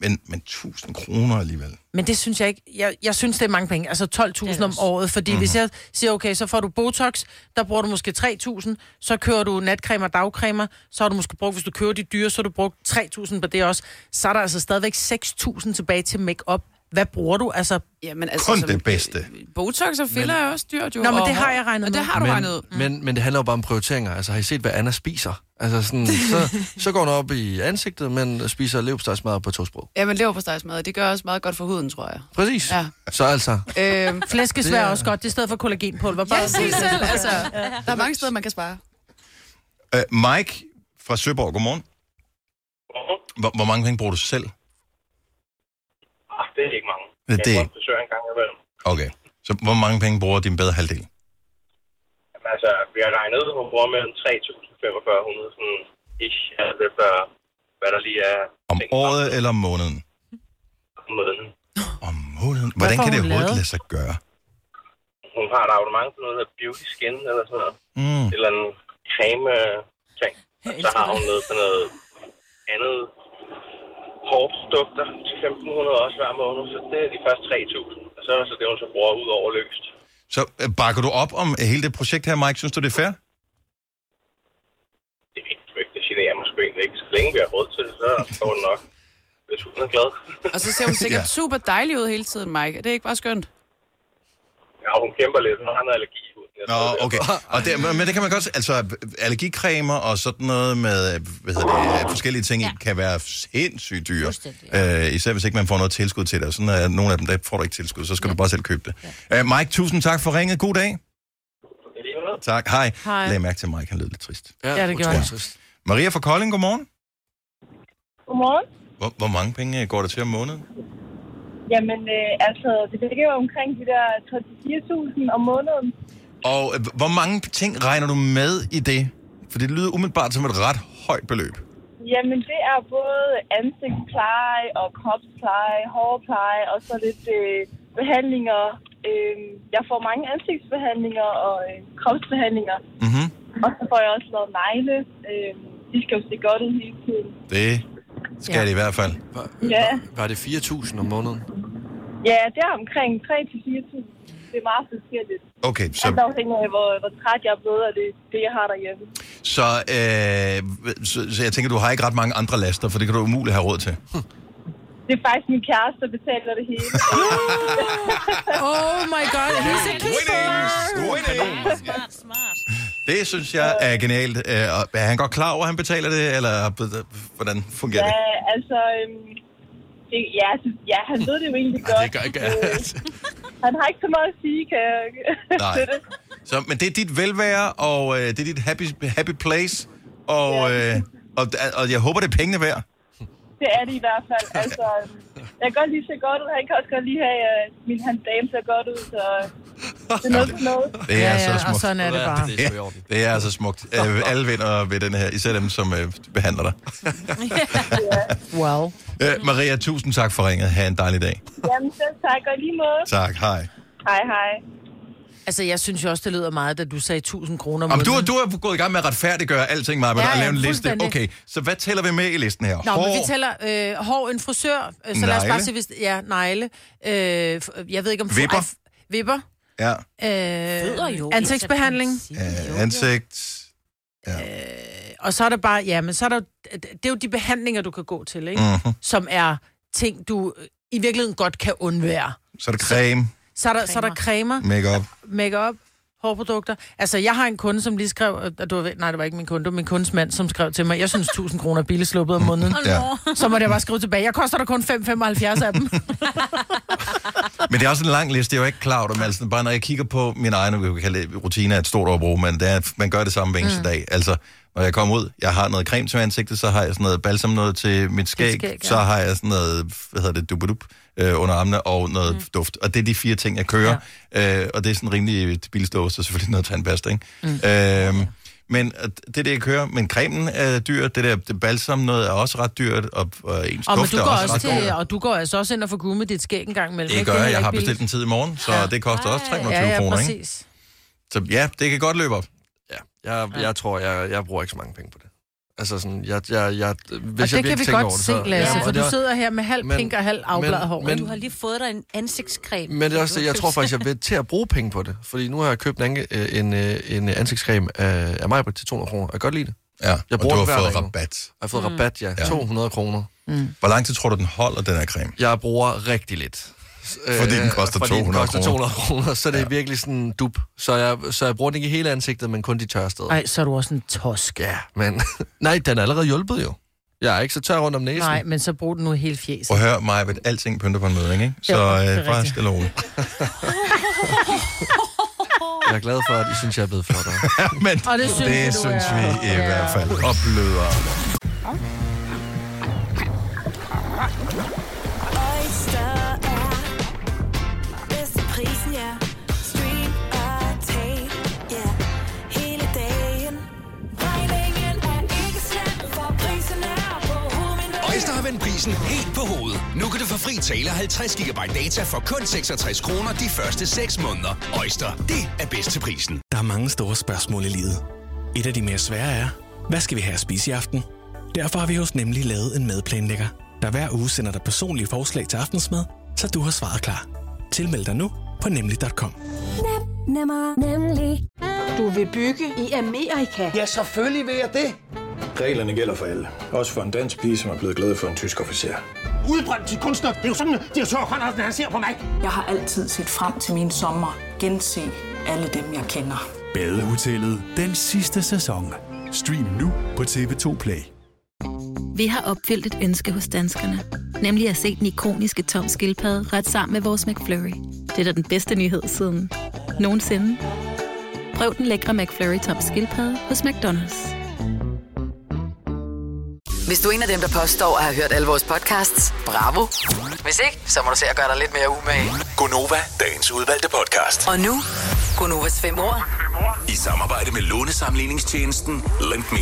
Men, men 1000 kroner alligevel.
Men det synes jeg ikke. Jeg, jeg synes, det er mange penge. Altså 12.000 om året. Fordi mm-hmm. hvis jeg siger, okay, så får du Botox, der bruger du måske 3.000. Så kører du natcreme og dagcremer. Så har du måske brugt, hvis du kører de dyre, så har du brugt 3.000 på det også. Så er der altså stadigvæk 6.000 tilbage til makeup. Hvad bruger du? Altså,
Jamen,
Altså, Kun det bedste.
Botox og filler er også dyrt, jo.
Nå, men
og
det har
hår.
jeg regnet
Og
med.
det har du
Men-
regnet ud.
Mm. Men, men det handler jo bare om prioriteringer. Altså, har I set, hvad Anna spiser? Altså, sådan, så, så går hun op i ansigtet, men spiser leverpostejsmad på tosprog.
Ja, men leverpostejsmad, det gør også meget godt for huden, tror jeg.
Præcis.
Ja.
Så altså,
Øhm,
flæskesvær er også godt. Det er i stedet for kollagenpulver. Bare
Ja, sig selv, altså. Der er mange steder, man kan spare.
Øh, Mike fra Søborg, godmorgen. Hvor, hvor mange penge bruger du selv?
Ah, det er ikke mange.
Det er
jeg bruger
ikke.
en frisør en gang imellem.
Okay. Så hvor mange penge bruger din bedre halvdel?
Jamen, altså, vi har regnet ud, at hun bruger mellem 3.000 og 4.500, sådan ish, alt efter, hvad der lige er
Om året eller om måneden?
om måneden.
Måneden? Hvordan
får
kan det
hun
overhovedet
lavet?
lade sig gøre?
Hun har et abonnement på noget, der hedder Beauty Skin, eller sådan noget.
Mm.
Et eller andet creme-ting. Så har hun noget sådan noget andet hårprodukter til 1.500 også hver måned, så det er de første 3.000. Og så er der så det, hun så bruger ud over løst.
Så øh, bakker du op om hele det projekt her, Mike? Synes du, det er fair?
Det er ikke svært, det generer mig sgu egentlig ikke. Så længe vi har råd til det, så går det nok. Hvis hun er glad.
Og så ser hun sikkert
Ja.
ja. super dejlig ud hele tiden, Mike. Er det ikke bare skønt?
Ja, hun kæmper lidt. Hun har noget allergi. i huden. Jeg
Nå,
tror, det er
okay.
derfor.
Og det, men det kan man godt... se. Altså, allergicremer og sådan noget med øh, hvad hedder det, forskellige ting ja. kan være sindssygt dyre. Øh, især hvis ikke man får noget tilskud til det. Og Sådan er nogle af dem, der får du ikke tilskud, så skal ja. du bare selv købe det. Ja. Øh, Mike, tusind tak for ringet. God dag. Tak. Hej.
Hej.
Læg mærke til, at Mike han lød lidt trist.
Ja,
Ja, det utrolig gjorde han.
trist.
Maria fra Kolding, godmorgen.
Godmorgen.
Hvor, hvor mange penge øh, går der til om måneden?
Jamen, øh, altså, det ligger jo omkring de der 34.000 om måneden.
Og øh, hvor mange ting regner du med i det? For det lyder umiddelbart som et ret højt beløb.
Jamen, det er både ansigtspleje og kropspleje, hårpleje og så lidt øh, behandlinger. Øh, jeg får mange ansigtsbehandlinger og øh, kropsbehandlinger.
Mhm.
Og så får jeg også lavet negle. Øh, de skal jo se godt ud hele tiden.
Det skal ja. det i hvert fald.
Ja,
Var det 4.000 om måneden?
ja det er omkring 3-4.000. Det er meget forskelligt.
Okay, så...
Alt afhænger af, hvor, hvor træt jeg er blevet, og det, det jeg har derhjemme.
Så, øh, så, så jeg tænker, du har ikke ret mange andre laster, for det kan du umuligt have råd til.
Det er faktisk min kæreste, der betaler det hele.
oh my god, he's a
keeper!
Smart, smart.
Det synes jeg er genialt. Øh, og Er han godt klar over, at han betaler det, eller øh, hvordan fungerer det?
Ja, altså... Øhm, det, ja, altså, ja, han ved det jo egentlig
Ej,
godt.
det gør ikke-
Øh, han har ikke så meget at sige, kan jeg
Nej.
til det.
Så, men det er dit velvære, og øh, det er dit happy, happy place, og, øh, og, og jeg håber, det er pengene værd.
Det er det i hvert fald. Altså, øhm, jeg kan godt lige se godt ud. Han kan også godt lige have, at min hans dame ser godt ud, så... Det er noget til noget.
Det er altså
Ja,
så
ja, og
smukt.
sådan er det bare.
Det er, det er så smukt. Øh, alle vinder ved den her, især dem, som øh, behandler dig.
Wow.
Øh, Maria, tusind tak for ringet. Ha' en dejlig dag.
Jamen, selv tak. Og i lige måde.
Tak, hej.
Hej, hej.
Altså, jeg synes jo også, det lyder meget, da du sagde 1000 kroner om
Jamen, du,
måneden.
har- du er gået i gang med at retfærdiggøre alting, Maja,
Ja,
ja, og
ja,
lave en liste.
fuldstændig.
Okay, så hvad tæller vi med i listen her?
Nå, men vi tæller øh, hår, en frisør, øh, så lad os bare
Negle.
se, hvis... Ja, negle. Øh, f- jeg ved ikke om...
Vipper.
Ej, f- vipper.
Ja,
Øh, jo, ansigtsbehandling.
øh, ansigt.
Og så er der bare... Ja, men så er der... jo- Det er jo de behandlinger, du kan gå til, ikke?
Mhm.
Som er ting, du øh, i virkeligheden godt kan undvære.
Så er der creme,
Så er der, så er der cremer,
makeup.
makeup, hårprodukter. Altså, jeg har en kunde, som lige skrev... øh, Du, ved- nej, det var ikke min kunde, det var min kundes mand, som skrev til mig, jeg synes 1000 kroner er billigt sluppet om måneden.
Åh, nå.
Så må jeg bare skrive tilbage, jeg koster dig kun 5,75 af dem.
Men det er også en lang liste, jeg var ikke klar over det, men altså, bare når jeg kigger på min egen, nu kan vi kalde det, rutine er et stort overbrug, men det er, at man gør det samme hver eneste
Mm.
mm. dag. Altså, når jeg kommer ud, jeg har noget creme til ansigtet, så har jeg sådan noget balsam noget til mit skæg,
skæg, ja.
så har jeg sådan noget, hvad hedder det, dubadup øh, under armene og noget mm. duft. Og det er de fire ting, jeg kører. Ja. Øh, og det er sådan rimelig bilstås, og selvfølgelig noget tandpasta, ikke? Mm. Øhm, men øh, det er det, jeg kører. Men cremen er dyr, det der det balsam noget er også ret dyrt, og, og ens
Og, men
duft
du
er
går
også,
også
ret dyr.
til, og du går altså også ind og får gummet dit skæg en gang imellem.
Det
Altså, ikke?
gør
er
jeg.
heller
Jeg har
ikke
bestilt en
billigt.
tid i morgen, så ja. det koster også 320
ja, ja,
kroner, ikke?
præcis.
Så ja, det kan godt løbe op.
Jeg, jeg tror, jeg, jeg bruger ikke så mange penge på det. Altså sådan, jeg, jeg, jeg, hvis
Og
jeg
det kan vi
virkelig tænker
godt
over det,
se,
så,
Lasse,
og
for
det
du
var-
sidder her med halv
men-
pink og halv afbladet hår.
Men
Men-
du har lige fået dig en ansigtscreme.
Men det er også det, jeg tror faktisk, jeg vil til at bruge penge på det. Fordi nu har jeg købt en, anke- øh, en, øh, en ansigtscreme af, af mig til 200 kroner. Jeg kan godt lide det.
Ja,
jeg
og
bruger
du
den
har
hver
fået
dag nu.
rabat.
Jeg har fået
Mm.
rabat, ja.
Ja.
200 kroner.
Mm.
Hvor lang tid tror du, den holder, den her creme?
Jeg bruger rigtig lidt.
Fordi den
Øh,
koster
fordi den
200
koster
kroner.
200 kroner, så det er virkelig sådan en dup. Så jeg, så jeg bruger den ikke i hele ansigtet, men kun de tørre steder.
Ej, så er du også en tosk.
Ja, men... Nej, den er allerede hjulpet jo. Jeg er ikke så tør rundt om næsen.
Nej, men så brug den nu helt fjes.
Prøv at høre mig, at alting pynter på en møding, ikke? Så
Jo, det er
øh, bare
rigtigt.
stille og roligt.
Jeg er glad for, at I synes, jeg er blevet flottere.
ja, men
Og det synes
det
du
synes
er.
vi i hvert fald. Opløder.
Oyster er bedst til prisen, ja. Stream og tag, ja. Hele dagen. Regningen er ikke slem, for prisen er på hovedet.
Øjster har vendt prisen helt på hovedet. Nu kan du få fri tale 50 GB data for kun 66 kroner de første 6 måneder. Øjster, det er bedst til prisen.
Der er mange store spørgsmål i livet. Et af de mere svære er, hvad skal vi have at spise i aften? Derfor har vi hos Nemlig lavet en madplanlægger, der hver uge sender dig personlige forslag til aftensmad, så du har svaret klar. Tilmeld dig nu på nemlig.com.
Nem, nemmer, nemlig. Du vil bygge i Amerika? Ja, selvfølgelig vil jeg det.
Reglerne gælder for alle. Også for en dansk pige, som er blevet glad for en tysk officer.
Udbrændt til kunstner. Det er jo sådan, at de har Conradsen, han ser på mig. Jeg har altid set frem til min sommer. Gense alle dem, jeg kender.
Badehotellet den sidste sæson. Stream nu på TV2 Play.
Vi har opfyldt et ønske hos danskerne. Nemlig at se den ikoniske tom skildpadde ret sammen med vores McFlurry. Det er da den bedste nyhed siden nogensinde. Prøv den lækre McFlurry tom skildpadde hos McDonald's.
Hvis du er en af dem, der påstår at have hørt alle vores podcasts, bravo. Hvis ikke, så må du se at gøre dig lidt mere umage.
Gonova, dagens udvalgte podcast.
Og nu, Gonovas fem år.
I samarbejde med lånesamligningstjenesten Lend Me.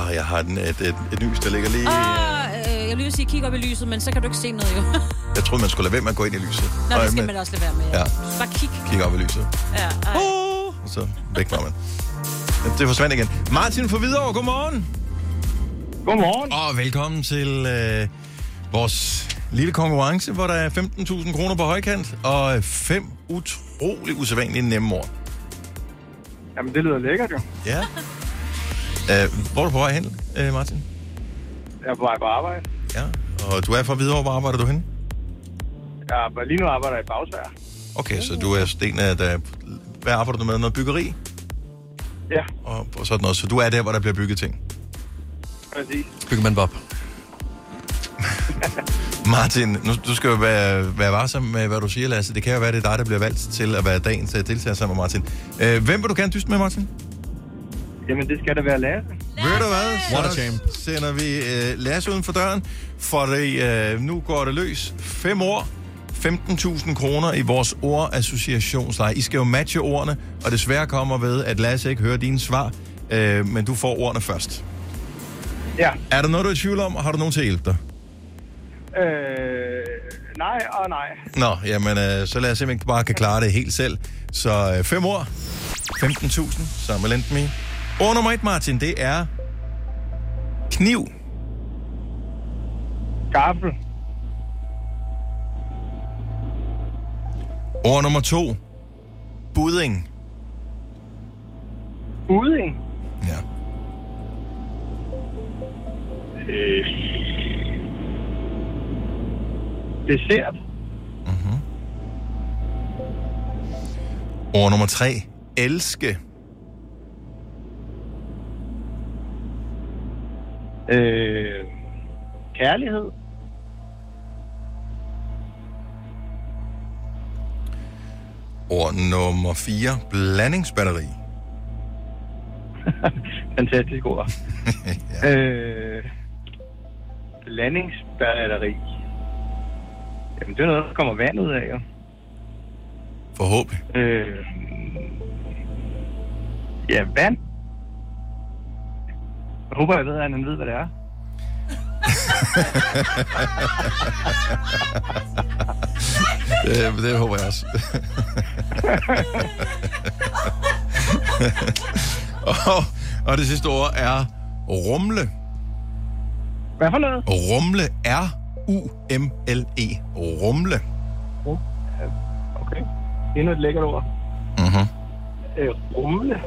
Ah, jeg har den, et, et, et lys, der ligger lige...
Ah.
Åh, øh, jeg vil lige sige, kig op i lyset, men så kan du ikke se noget, jo.
Jeg troede, man skulle lade være med at gå ind i lyset.
Nå, det skal
men-
man også lade være med.
Ja,
Bare kig.
kig op i lyset.
Ja, ej.
Og så væk var man. Det forsvandt igen. Martin fra Hvidovre, godmorgen. Godmorgen. Og velkommen til øh, vores lille konkurrence, hvor der er 15.000 kroner på højkant og fem utrolig usædvanlige nemme ord.
Jamen, det lyder lækkert jo.
Ja. Æh, hvor er du på vej hen, øh, Martin?
Jeg er på vej på arbejde.
Ja. Og du er fra Hvidovre, hvor arbejder du hen?
Jeg er, lige nu arbejder jeg i Bagsvær.
Okay, så du er sådan en af, der... Hvad arbejder du med? Noget byggeri?
Ja,
Og, og sådan noget. Så du er der, hvor der bliver bygget ting.
præcis.
Byggemand Bob.
Martin, nu, du skal jo være, være varsom med, hvad du siger, Lasse. Det kan jo være, det er dig, der bliver valgt til at være dagens øh, deltager sammen med Martin. Øh, hvem vil du gerne dyste med, Martin?
Jamen, det skal da være Lasse.
Ved du hvad?
What a
Så
shame.
sender vi øh, Lasse uden for døren, for det, øh, nu går det løs. Fem år, 15.000 kroner i vores ordassociationsleje. I skal jo matche ordene, og desværre kommer ved, at Lasse ikke hører dine svar, øh, men du får ordene først.
Ja.
Er der noget, du er i tvivl om, og har du nogen til at hjælpe dig?
Øh, nej og nej.
Nå, jamen, øh, så lad os simpelthen bare kan klare det helt selv. Så øh, fem år, 15.000, sammen med Lend Me. Ord nummer et, Martin, det er kniv.
Gaffel.
Ord nummer to, budding.
Uding.
Ja.
Øh. Dessert.
Mhm. Ord nummer tre, elske.
Øh, kærlighed.
Ord nummer fire, blandingsbatteri.
Fantastisk ord. ja. øh, blandingsbatteri. Jamen, det er noget, der kommer vand ud af, jo.
Forhåbentlig.
Øh, ja, vand. Jeg håber, jeg ved, at han ved, hvad det er.
det, det håber jeg også. og, og det sidste ord er rumle.
Hvad for noget?
Rumle er U-M-L-E. E. Rumle.
Oh, Endnu et lækkert ord.
Mhm.
Øh, rumle.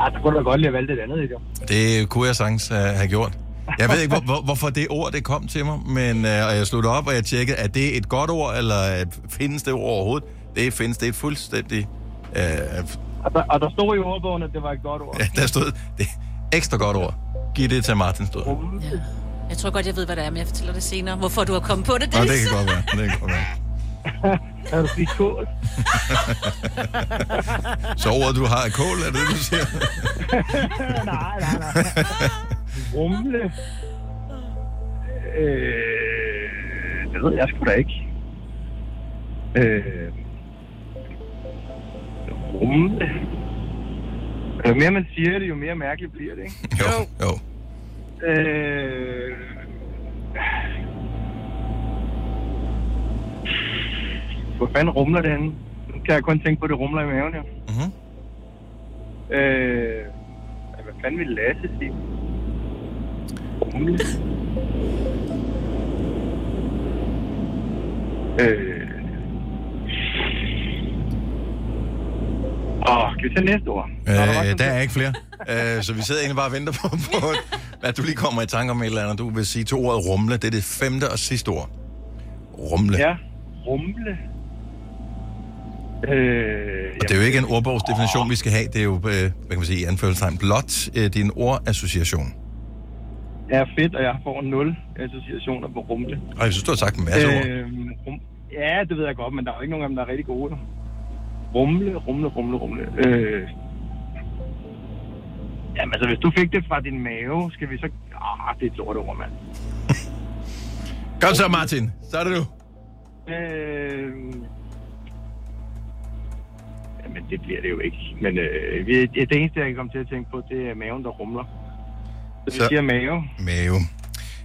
Ej, Ah, så kunne du da godt lige have valgt et andet, ikke?
Det kunne jeg sagtens uh, have gjort. Jeg ved ikke, hvor, hvor, hvorfor det ord det kom til mig, men uh, og jeg slog det op, og jeg tjekkede, er det et godt ord, eller uh, findes det ord overhovedet? Det findes, det er fuldstændig... Uh,
Og der, og der stod i ordbogen, at det var et godt ord.
der stod det ekstra godt ord. Giv det til Martin, stod. der.
Jeg tror godt, jeg ved, hvad det er, men jeg fortæller det senere. Hvorfor du har kommet på det,
Nå, det
Dennis.
kan godt være. Det kan godt være.
Er du sige kål?
Så ordet, du har, er kål, er det det, du siger?
nej, nej, nej. Rumle. Øh, det ved jeg sgu da ikke. Øh, rumle. Jo mere man siger det, jo mere mærkeligt bliver det, ikke?
Jo, jo.
Øh, hvor fanden rumler det henne? Nu kan jeg kun tænke på, at det rumler i maven, jo.
Mhm.
Øh, hvad fanden ville Lasse sige? Rumle. øh. Åh, kan vi tage næste ord?
Øh, der er ikke flere. Øh, så vi sidder egentlig bare og venter på, på, at du lige kommer i tanke om et eller andet. Du vil sige to ordet rumle. Det er det femte og sidste ord. Rumle.
Ja, rumle. Øh,
Og det er jo ikke en ordbogsdefinition, vi skal have. Det er jo, øh, hvad kan man sige, i anførselstegn, blot øh, din ordassociation.
Jeg er fedt, og jeg får 0 associationer på rumle.
Og jeg synes, du har sagt en masse øh... ord.
Øhm, rum, ja, det ved jeg godt, men der er jo ikke nogen af dem, der er rigtig gode. Rumle, rumle, rumle, rumle. Øh, jamen altså, hvis du fik det fra din mave, skal vi så... Ah, det er et lort ord, mand.
Kom så, Martin. Så er det du.
Øh... Jamen, det bliver det jo ikke. Men øh, vi- det eneste, jeg kan komme til at tænke på, det er maven, der rumler. Så vi
Så-
siger mave.
Mave.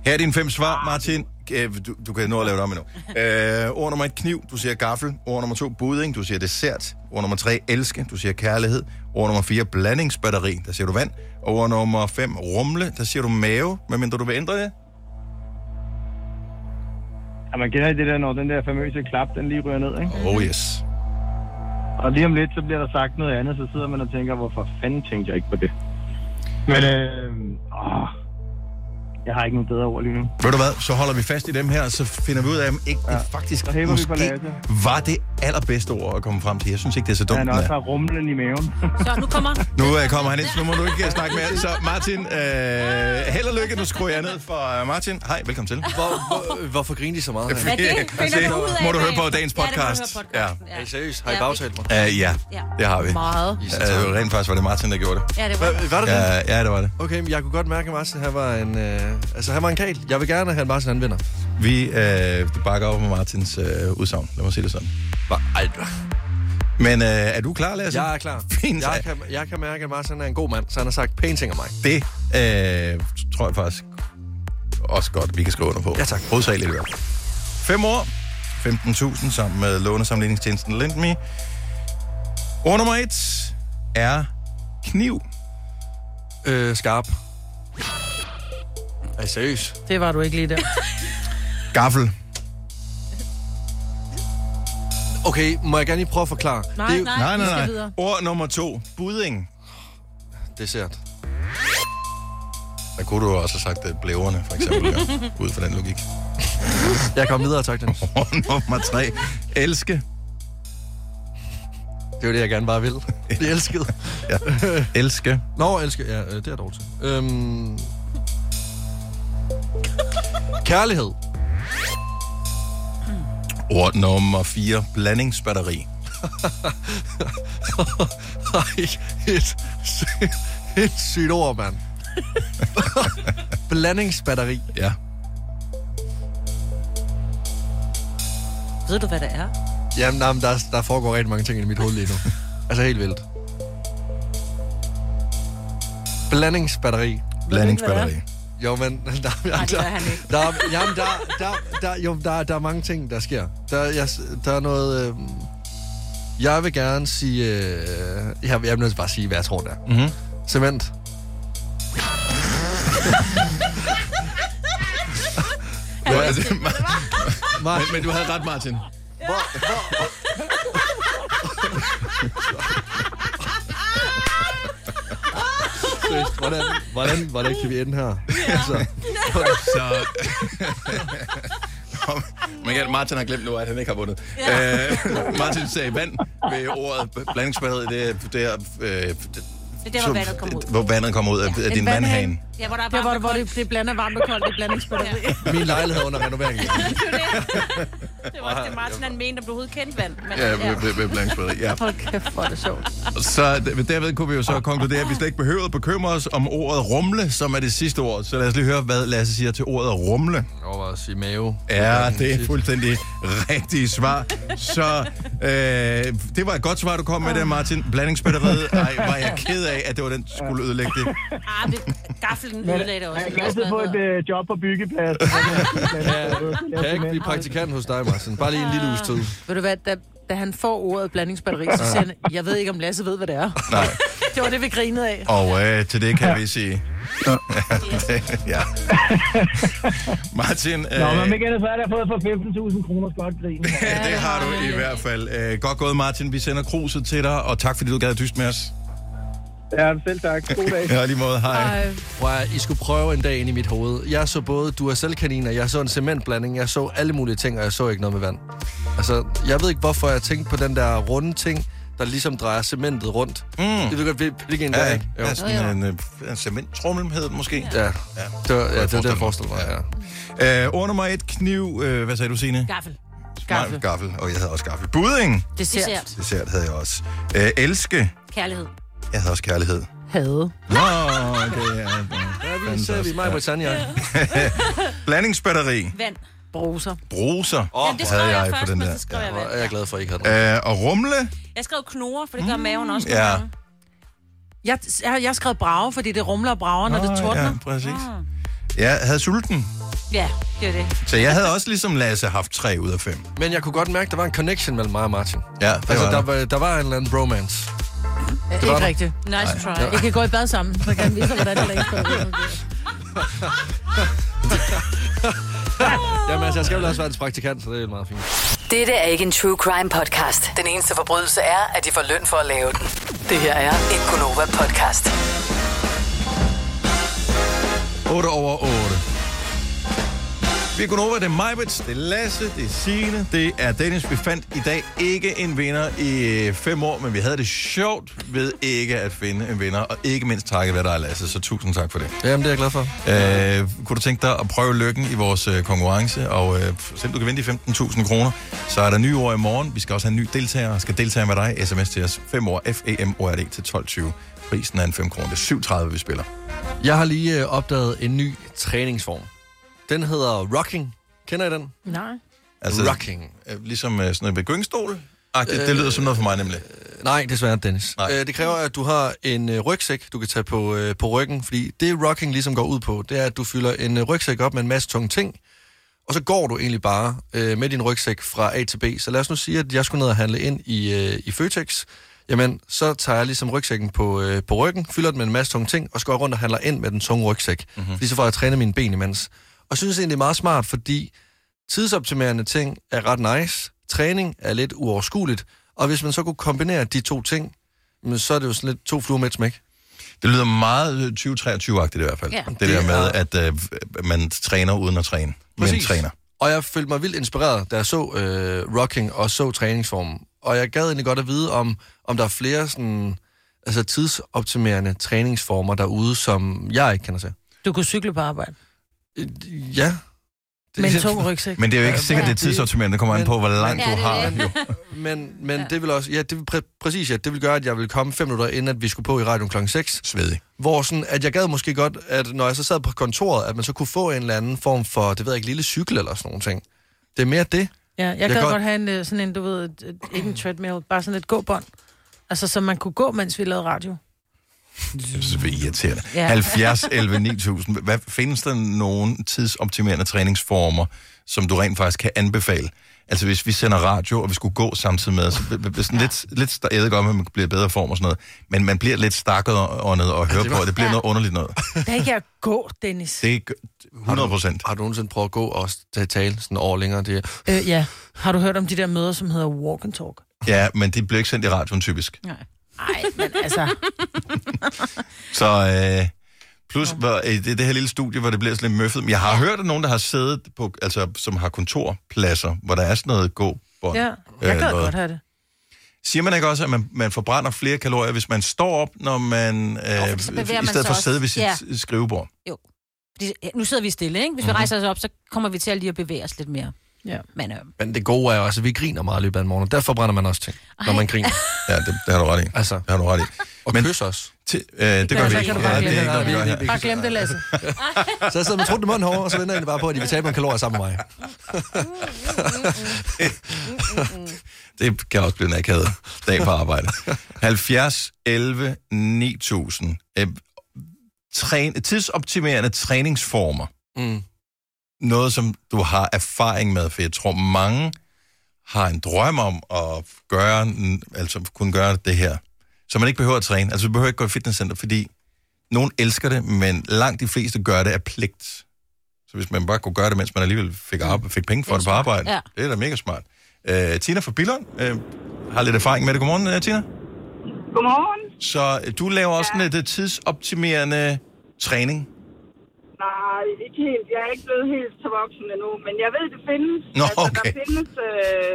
Her er dine fem svar, Martin. Øh, Du, du kan nå at lave det om endnu. Øh, ord nummer et, kniv. Du siger gaffel. Ord nummer to, budding. Du siger dessert. Ord nummer tre, elske. Du siger kærlighed. Ord nummer fire, blandingsbatteri. Der siger du vand. Og ord nummer fem, rumle. Der siger du mave, medmindre du vil ændre det.
Ja, man kender det der, når den der famøse klap, den lige ryger ned, ikke?
Oh yes.
Og lige om lidt, så bliver der sagt noget andet, så sidder man og tænker, hvorfor fanden tænkte jeg ikke på det? Men øh, åh, jeg har ikke nogen bedre ord lige nu.
Ved du hvad, så holder vi fast i dem her, og så finder vi ud af, om ikke ja. det faktisk
så hæver vi på
måske
Lasse.
var det allerbedste ord at komme frem til. Jeg synes ikke, det er så dumt.
Han
den
også
er.
har rumlen i maven.
Så nu kommer
Nu øh, kommer han ind, så nu må du ikke øh, snakke med alle. Så Martin, øh, held og lykke. Nu skruer jeg ned for øh, Martin. Hej, velkommen til. Hvor, hvor, hvorfor griner de så meget?
Ja, det finder
se,
du ud af
må du
i
høre
dag.
på dagens
Ja, det må du høre
podcast.
podcasten, ja. Er I seriøst? Har I
Ja.
bagtalt mig?
Uh, ja,
Ja.
det har vi.
Meget.
Uh, rent faktisk var det Martin, der gjorde det.
Ja, det var, var det.
Ja, ja, det var det.
Okay, men jeg kunne godt mærke, at Martin han var en, øh, altså, han var en kal. Jeg vil gerne have, at Martin anvinder.
Vi øh, bakker op med Martins øh, udsagn. Lad mig sige det sådan. Men øh, er du klar, Lasse?
Jeg er klar.
Fint.
Jeg kan, jeg kan mærke, at Martin er en god mand, så han har sagt pæne ting om mig.
Det øh, tror jeg faktisk også godt, vi kan skrive under på. Ja, tak. Hovedsageligt i hvert fald. Fem år, 15.000 sammen med lånesamligningstjenesten Lendme. Ord nummer et er kniv. Øh, skarp.
Er I seriøs?
Det var du ikke lige der.
Gaffel.
Okay, må jeg gerne lige prøve at forklare?
Nej,
Det er jo-
nej, Nej, vi nej, skal nej. videre.
Ord nummer to. Budding.
Dessert.
Der kunne du også have sagt øh, blæverne, for eksempel, ja, ud fra den logik.
Jeg kom videre, tak Dennis.
Ord nummer tre. Elske.
Det var det, jeg gerne bare vil. Det elskede.
ja. Elske.
Nå, elske. Ja, øh, det er jeg dog til. Øhm... Kærlighed.
Ord nummer 4. Blandingsbatteri.
Ej, et, sy- et sygt ord, mand. Blandingsbatteri.
Ja.
Ved du, hvad det er?
Jamen, jamen der, der foregår rigtig mange ting i mit hoved lige nu. Altså helt vildt. Blandingsbatteri.
Blandingsbatteri.
Jo, men... Der,
Nej, det gør han
ikke. Der, jamen, der, der, der, jo, der, der er mange ting, der sker. Der, jeg, der er noget... Øh, jeg vil gerne sige... Øh, jeg, jeg bliver nødt til bare at sige, hvad jeg tror, der.
Mm-hmm.
Cement.
Hvor er det? Men, men du havde ret, Martin.
Seriøst, hvordan, hvordan, hvordan kan vi ende her? Altså,
så... Man kan, Martin har glemt nu, at han ikke har vundet. Ja. Øh, Martin sagde vand ved ordet b- blandingsbatteri. Det er der, øh, det,
er der, hvor vandet kommer ud.
Hvor vandet kommer ud af, af din vandhane.
Ja, hvor der er
varmt hvor, hvor det, det blander varmt og koldt, det blander ikke ja.
Min lejlighed er under renovering.
Det var også det, Martin han mente, at du overhovedet kendte vand. Men,
Ja, ved, ved, ved blandingsbatteri, ja.
Hold kæft, hvor er det sjovt.
Så d- derved kunne vi jo så konkludere, at vi slet ikke behøver at bekymre os om ordet rumle, som er det sidste ord. Så lad os lige høre, hvad Lasse siger til ordet rumle.
Overvej at sige mave.
Ja, det er fuldstændig rigtige svar. Så øh, det var et godt svar, du kom med der, Martin. Blandingsbatteriet. Ej, var jeg ked af, at det var den, der skulle ødelægge det.
Ah, det, gaflen
Men
ødelagde det også.
jeg er glad for at få et øh, job på byggeplads.
Ja, kan jeg ikke blive praktikant hos dig, Martin? Bare lige en lille uges tid.
Ved du hvad, da, da han får ordet blandingsbatteri, så siger han, jeg ved ikke, om Lasse ved, hvad det er.
Nej.
Det var det, vi grinede af.
Og øh, til det kan vi sige... ja. Martin,
Nå,
øh,
men ikke andet, så er der fået for 15.000 kroner godt grin.
det har du i hvert fald. Øh, godt gået, Martin. Vi sender kruset til dig, og tak fordi du gad at dyste med os.
Ja, selv tak. God dag.
Ja, lige måde. Hej. Hej.
Prøv at, I skulle prøve en dag ind i mit hoved. Jeg så både du er selv kaniner, jeg så en cementblanding, jeg så alle mulige ting, og jeg så ikke noget med vand. Altså, jeg ved ikke, hvorfor jeg tænkte på den der runde ting, der ligesom drejer cementet rundt. Mm. Det ved du godt, hvil- hvilken der,
Ja,
ikke?
ja, sådan en, øh, en cementtrummel hed det måske.
Ja, det var, ja, det, var det, jeg forestillede mig, ja.
ja. Øh, ord nummer et, kniv. Øh, hvad sagde du, Signe?
Gaffel.
Gaffel. Gaffel, og jeg havde også gaffel. Budding.
Dessert.
Dessert havde jeg også. Øh, elske.
Kærlighed.
Jeg havde også kærlighed.
Havde.
Nå, det er...
Ja, vi ser vi mig på Tanja.
Blandingsbatteri.
Vand.
Bruser.
Bruser
Jamen, det skrev
havde
jeg
jeg,
først,
på den
men
der.
så skrev jeg væk.
Jeg er glad for, at I ikke har
Øh, og rumle?
Jeg skrev knorer, for det gør maven også.
Mm. Ja.
Ja.
Jeg, jeg, jeg skrev brage, fordi det rumler og brager, når
Nå,
det tordner.
Ja, præcis.
Ah.
Jeg havde sulten,
Ja, det er det.
så jeg havde også ligesom Lasse haft 3 ud af 5.
Men jeg kunne godt mærke, at der var en connection mellem mig og Martin.
Ja, det
altså,
var
der, var, der var en eller anden bromance.
Det
var
ikke
der.
rigtigt.
Nice try.
Ja. I kan gå i bad sammen, så kan jeg vise dig, hvordan det er.
Jamen altså, jeg skal vel også være en praktikant, så det er meget fint.
Dette er ikke en true crime podcast. Den eneste forbrydelse er, at de får løn for at lave den. Det her er en Gunova-podcast.
8 over 8. Vi er gået over, det er Majbets, det er Lasse, det er Signe, det er Dennis. Vi fandt i dag ikke en vinder i 5 år, men vi havde det sjovt ved ikke at finde en vinder, og ikke mindst takket være dig, Lasse, så tusind tak for det.
Jamen, det er jeg glad for.
Øh, kunne du tænke dig at prøve lykken i vores øh, konkurrence, og øh, selvom du kan vinde de 15.000 kroner, så er der nye år i morgen. Vi skal også have en ny deltager, og skal deltage med dig. SMS til os 5 år, f e m o r d til 12.20. Prisen er en 5 kroner. Det er 7.30, vi spiller.
Jeg har lige øh, opdaget en ny træningsform. Den hedder rocking. Kender I den? Altså-
Nej.
rocking.
øh, Ligesom øh, sådan noget ved gyngestol. Ah, det, øh, det
Øh,
lyder som noget for mig nemlig.
Nej, desværre, Dennis. Nej. Øh, det kræver, at du har en øh, rygsæk, du kan tage på, øh, på ryggen, fordi det rocking ligesom går ud på, det er, at du fylder en øh, rygsæk op med en masse tunge ting, og så går du egentlig bare øh, med din rygsæk fra A til B. Så lad os nu sige, at jeg skulle ned og handle ind i, øh, i Føtex. Jamen, så tager jeg ligesom rygsækken på, øh, på ryggen, fylder den med en masse tunge ting, og så går jeg rundt og handler ind med den tunge rygsæk. Mm-hmm.
Mhm.
Fordi så får jeg trænet mine ben imens. Og jeg synes egentlig, det er meget smart, fordi tidsoptimerende ting er ret nice, træning er lidt uoverskueligt, og hvis man så kunne kombinere de to ting, jamen, så er det jo sådan lidt to fluer med et smæk.
Det lyder meget 2023-agtigt i hvert fald.
Ja.
Det der med, at øh, man træner uden at træne. Men
Præcis.
træner.
Og jeg følte mig vildt inspireret, da jeg så øh, rocking og så træningsformen. Og jeg gad egentlig godt at vide, om, om der er flere sådan, altså, tidsoptimerende træningsformer derude, som jeg ikke kender til. Øh,
Du kunne cykle på arbejde.
Ja.
Med en tung rygsæk.
Men det er jo ikke sikkert, det er tidsoptimerende. Det kommer an på, hvor langt
men-
du har. Jo.
Men, men ja. det vil også, ja, det vil præ- præcis, ja, det vil gøre, at jeg vil komme fem minutter inden, at vi skulle på i radioen klokken 6.
Svedig.
Hvor sådan, at jeg gad måske godt, at når jeg så sad på kontoret, at man så kunne få en eller anden form for, det ved jeg ikke, lille cykel eller sådan nogle ting. Det er mere det.
Ja, jeg, jeg
Jeg
gad
kan-
godt have en, øh, sådan en, du ved, et, et, ikke en treadmill, bare sådan et gåbånd. Altså, så man kunne gå, mens vi lavede radio.
Det synes jeg er irriterende.
Ja.
Ja. 70, 11, 9000. Hvad, findes der nogen tidsoptimerende træningsformer, som du rent faktisk kan anbefale? Altså hvis vi sender radio, og vi skulle gå samtidig med, så bliver bliver sådan ja. lidt, lidt sta- jeg ved godt, at man bliver i bedre form og sådan noget, men man bliver lidt stakket og og noget og høre på, og det bliver
Ja.
noget underligt noget.
Der kan jeg gå, Dennis.
Det er ikke- 100 procent.
Har du nogensinde prøvet at gå og s- tage tale sådan over længere? Det er,
Øh, ja. Har du hørt om de der møder, som hedder walk and talk?
Ja, men det bliver ikke sendt i radioen typisk.
Nej. Nej, men altså...
Så øh, plus hvor, øh, det, det her lille studie, hvor det bliver sådan lidt møffet. Men jeg har hørt, at nogen, der har siddet på, altså som har kontorpladser, hvor der er sådan noget gå
Ja, jeg gad godt have det.
Siger man ikke også, at man, man forbrænder flere kalorier, hvis man står op, når man, øh,
så bevæger
i
man
stedet
sig
for at
også.
sidde ved sit
Ja.
ja. skrivebord?
Fordi, ja, nu sidder vi stille, ikke? Hvis vi rejser os op, så kommer vi til at lige at bevæge os lidt mere.
Mhm. Ja.
Men øh,
men det gode er jo, altså, vi griner meget i løbet af en morgen, og derfor brænder man også ting, Ej. når man griner.
Ja, det, det har du ret i.
Altså.
Det har du ret i.
Og men, kys os.
Til, øh, det gør vi
så
ikke.
kan du
Ja,
bare
det er
glemme
ikke
det.
noget, vi gør
Nej,
her.
vi-
Bare glem det, Lasse.
Så jeg sidder med truten i munden herovre, og så venter jeg egentlig bare på, at de vil tabe nogle kalorier sammen med mig.
Mm,
Det kan også blive en akavet dag på arbejde. 70, 11, 9000. Øh, træn, tidsoptimerende træningsformer.
Mm.
Noget, som du har erfaring med, for jeg tror, mange har en drøm om at gøre, n- altså kunne gøre det her. Så man ikke behøver at træne. Altså, du behøver ikke gå i fitnesscenter, fordi nogen elsker det, men langt de fleste gør det af pligt. Så hvis man bare kunne gøre det, mens man alligevel fik, arbejde, fik penge for det på arbejde,
Ja.
det er da mega smart. Øh, Tina fra Billund øh, har lidt erfaring med det. Godmorgen, øh, Tina.
Godmorgen.
Så øh, du laver også ja. lidt øh, tidsoptimerende træning.
Nej, ikke helt. Jeg er ikke blevet helt så voksen endnu, men jeg ved, det findes.
Nå,
altså, der
okay.
findes øh,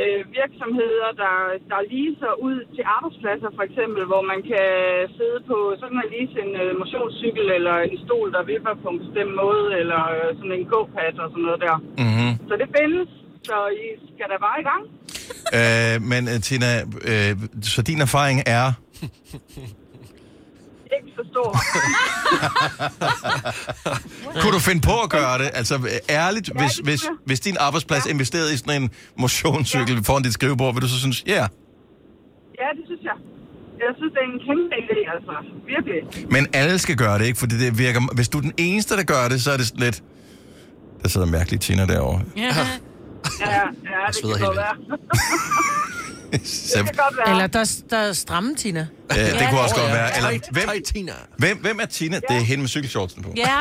øh, virksomheder, der, der leaser ud til arbejdspladser, for eksempel, hvor man kan sidde på sådan en lease en øh, motionscykel eller en stol, der vipper på en bestemt måde, eller øh, sådan en go-pad og sådan noget der.
Mm-hmm.
Så det findes, så I skal da bare i gang.
Øh, men øh, Tina, øh, så din erfaring er...
Ikke
ikke forstå ham.
Kunne du finde på at gøre det? Altså øh, ærligt, hvis, hvis, hvis din arbejdsplads investerede i sådan en motionscykel foran dit skrivebord, vil du så synes, ja. Yeah.
ja, det synes jeg. Jeg synes, det er en kæmpe idé, altså. Virkelig.
Men alle skal gøre det, ikke? Fordi det virker... Hvis du er den eneste, der gør det, så er det sådan lidt... Der sidder mærkeligt Tina derovre.
Ja, ja, ja det
sveder
kan
helt
godt være.
Så,
Eller der, der er stramme, Tina.
ja, det kunne også godt
Ja.
være. Eller,
Tight-
hvem,
tight Tina.
hvem, hvem er Tina? Det er hende med cykelshortsen på.
Ja.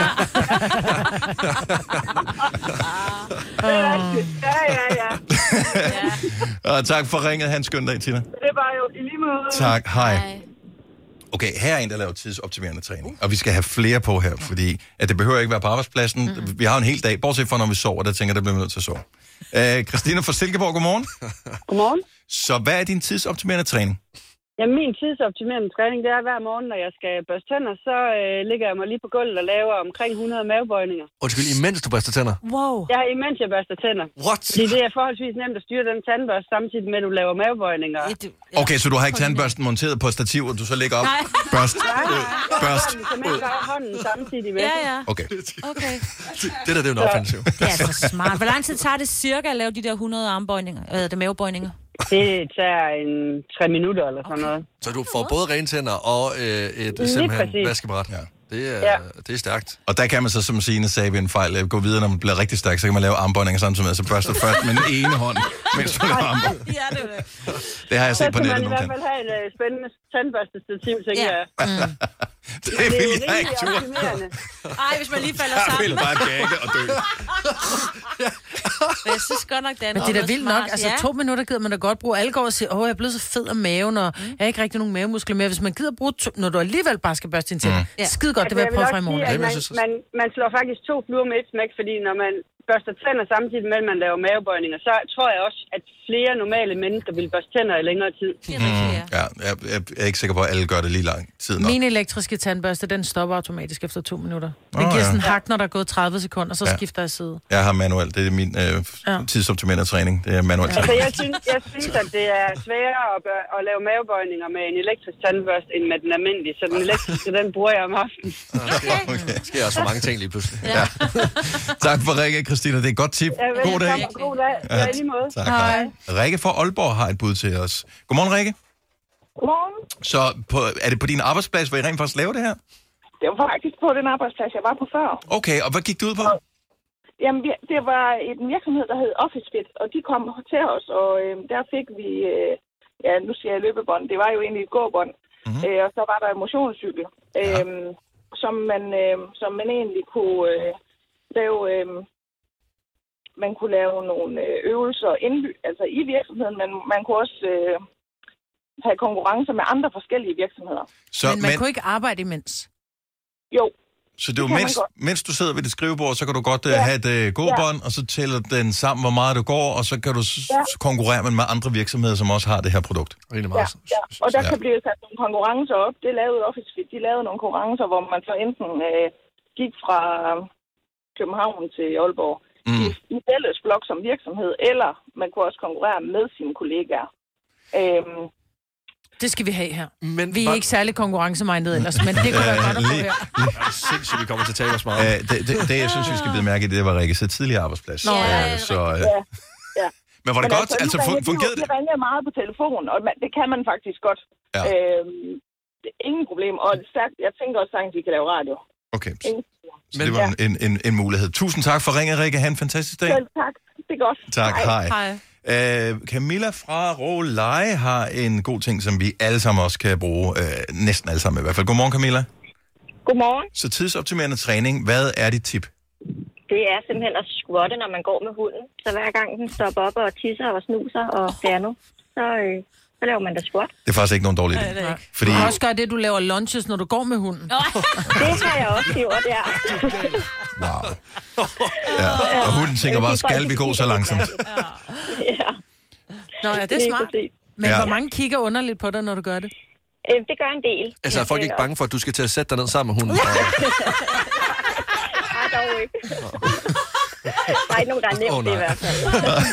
Det er rigtigt. Ja, ja, ja.
Og tak for ringet. Han skøn dag, Tina.
Det var jo i lige måde.
Tak. Hej. Okay, her er en, der laver tidsoptimerende træning. Og vi skal have flere på her, fordi at det behøver ikke være på arbejdspladsen. Vi har en hel dag, bortset fra når vi sover, der tænker jeg, der bliver vi nødt til at sove. Øh, Christina fra Silkeborg, godmorgen.
Godmorgen.
Så hvad er din tidsoptimerende træning?
Ja, min tidsoptimerende træning, det er hver morgen, når jeg skal børste tænder, så øh, ligger jeg mig lige på gulvet og laver omkring 100 mavebøjninger.
Undskyld, imens du børster tænder.
Wow. Ja, imens jeg børster tænder.
What?
Fordi det er forholdsvis nemt at styre den tandbørste, samtidig med, at du laver mavebøjninger.
Okay, så du har ikke tandbørsten monteret på et stativ, og du så lægger op? Børst. øh, Børst.
Du kan mere bare hånden samtidig med.
Ja, ja.
Okay.
Okay.
Det der, det er jo en opfindelse. jo.
Det er så smart. Hvor lang tid tager det cirka at lave de der 100 armbøjninger? Hvad hedder det, mavebøjninger?
Det tager en 3 minutter eller sådan noget.
Så du får både rene tænder og øh, et
Lige
simpelthen
præcis.
vaskebræt. Ja. Det er,
Ja.
ja. det er stærkt.
Og der kan man så, som Signe sagde ved en fejl, øh, gå videre, når man bliver rigtig stærk, så kan man lave armbøjninger samtidig med, så børster først med den ene hånd, mens man laver armbøjninger.
Ja, det er det.
Det har jeg
Så
set på
skal
nettet,
man i
nogen
hvert
kan.
fald have et øh, spændende tandbørstestativ, tænker jeg.
Det vil
jo
jeg ikke
rimelig
turde.
optimerende.
Ej, hvis man lige falder
Jeg
sammen.
vil bare gagge og dø.
Men jeg synes godt nok, den
Men det er da
også
vildt
smart,
nok. Altså,
ja.
to minutter gider man da godt bruge. Alle går og siger, åh, jeg er blevet så fed om maven, og jeg har ikke rigtig nogen mavemuskler mere. Hvis man gider bruge, to, når du alligevel bare skal børste din tænder.
Mm.
Mm. Skide godt, det vil jeg prøve
nok
fra i morgen.
Sige, at man, man, man slår faktisk to fluer med et smæk, fordi når man børster tænder samtidig med, at man laver mavebøjninger, så tror jeg også, at flere normale mennesker vil børste tænder i længere tid.
Mm, ja, jeg, jeg er ikke sikker på, at alle gør det lige lang tid nok.
Min elektriske tandbørste, den stopper automatisk efter to minutter. Den
Åh,
giver
ja.
sådan en hak, når der er gået 30 sekunder, så
Ja.
skifter jeg side.
Jeg har manuel. Det er min øh,
Ja.
tidsoptimerende træning. Det er manuel
Altså,
træning.
jeg synes, jeg synes, at det er sværere at, bør, at lave mavebøjninger med en elektrisk tandbørste, end med den almindelige. Så den elektriske, den bruger jeg om aftenen.
Der sker også for mange ting lige pludselig.
Ja. tak for Rikke, Christina. Det er et godt tip.
Ja,
God dag.
velkommen. God dag. Ja, i lige måde.
Tak, hej. Rikke fra Aalborg har et bud til os. Godmorgen, Rikke.
Godmorgen.
Så på, er det på din arbejdsplads, hvor I rent faktisk laver det her?
Det var faktisk på den arbejdsplads, jeg var på før.
Okay, og hvad gik det ud på?
Jamen, vi- det var en virksomhed, der hed OfficeFit, og de kom til os, og øh, der fik vi, øh, ja, nu siger jeg løbebånd, det var jo egentlig et gåbånd,
Mhm.
mm-hmm. øh, og så var der en motionscykel, øh, som, man, øh, som man egentlig kunne øh, lave, øh, man kunne lave nogle øh, øvelser indby, altså i virksomheden, men man kunne også øh, have konkurrencer med andre forskellige virksomheder.
Så,
Men man kunne ikke arbejde imens.
Jo,
så det er
det
jo
kan man
mens,
godt.
mens du sidder ved dit skrivebord, så kan du godt uh, have et uh, gåbånd, og så tæller den sammen, hvor meget du går, og så kan du s-
Ja.
s- konkurrere med- med andre virksomheder, som også har det her produkt. Rigtig
Ja, ja. Og der
Ja.
ja. kan blive sat nogle konkurrencer op. Det lavede Office Fit. De lavede nogle konkurrencer, hvor man så enten øh, gik fra øh, København til Aalborg
Mm.
i fælles blok som virksomhed, eller man kunne også konkurrere med sine kollegaer. Øhm,
Det skal vi have her.
Men
vi er ikke særlig konkurrencemindede ellers, men det
Øh,
kunne være godt at få her.
Sindssygt, vi kommer til at tale os meget.
Øh, det, det, det, jeg synes, vi skal bide mærke i, det var Rikke så tidligere arbejdsplads.
Nå, ja, ja,
Øh,
ja,
så, øh,
ja. ja.
men var det godt? Altså,
nu
fun-
ringer de jo-
fungerede det?
De ringer meget på telefon, og man, det kan man faktisk godt.
Ja.
Øhm, det er ingen problem. Og stærkt, jeg tænker også, at de kan lave radio.
Okay,
Ingen,
så det var en, en, en, en mulighed. Tusind tak for ringet, Rikke. Ha' en fantastisk dag.
Selv tak. Det er godt.
Tak, hej. Øh, Camilla fra Råleje har en god ting, som vi alle sammen også kan bruge. Øh, næsten alle sammen i hvert fald. Godmorgen, Camilla.
Godmorgen.
Så tidsoptimerende træning. Hvad er dit tip?
Det er simpelthen at squatte, når man går med hunden. Så hver gang den stopper op og tisser og snuser og fjerner, så, øh, så laver man da squat.
Det er faktisk ikke nogen dårlig idé.
Fordi...
Fordi-
Du kan også gøre det, du laver lunches, når du går med hunden.
det har jeg også gjort, ja.
Ja. Og hunden tænker bare, skal vi gå så langsomt?
Nå, ja, det er
Lige
smart.
præcis.
Men
Ja.
hvor mange kigger underligt på dig, når du gør det?
Øh, det gør en del.
Altså, er folk ikke bange for, at du skal til at sætte dig ned sammen med hunden?
Nej, dog ikke. Der er ikke nogen, der er nemt
Åh,
oh, i
nej.
hvert fald.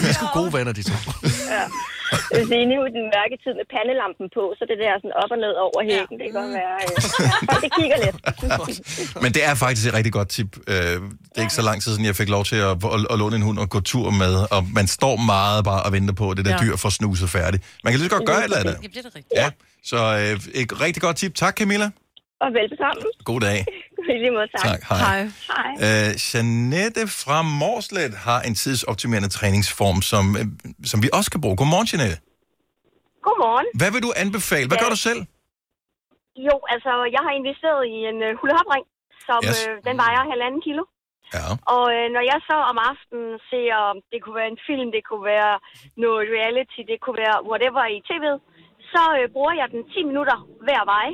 Vi er sgu gode venner, de to.
Ja. Jeg vil sige, nu er den mørke tid med pandelampen på, så det der sådan op og ned over hækken, det kan
Mm.
godt være... Øh, folk, det kigger lidt.
Men det er faktisk et rigtig godt tip. Øh, Det er ikke så lang tid siden, jeg fik lov til at, at, at låne en hund og gå tur med, og man står meget bare og venter på, at det der
Ja.
dyr får snuset færdigt. Man kan lige så godt gøre et eller andet.
Jamen, det er da rigtigt.
Ja, så øh, et rigtig godt tip. Tak, Camilla.
Og velbekomme.
God dag.
I lige måde, tak.
Tak, hej. Hej.
Hej.
Øh, Janette fra Morslet har en tidsoptimerende træningsform, som, øh, som vi også kan bruge. Godmorgen, Janette.
Godmorgen.
Hvad vil du anbefale? Hvad
Ja.
gør du selv?
Jo, altså, jeg har investeret i en øh, hulehopring, som
Yes.
yes. øh, den vejer halvanden kilo.
Ja.
Og øh, når jeg så om aftenen ser, om det kunne være en film, det kunne være noget reality, det kunne være whatever i tv'et, så øh, bruger jeg den 10 minutter hver vej.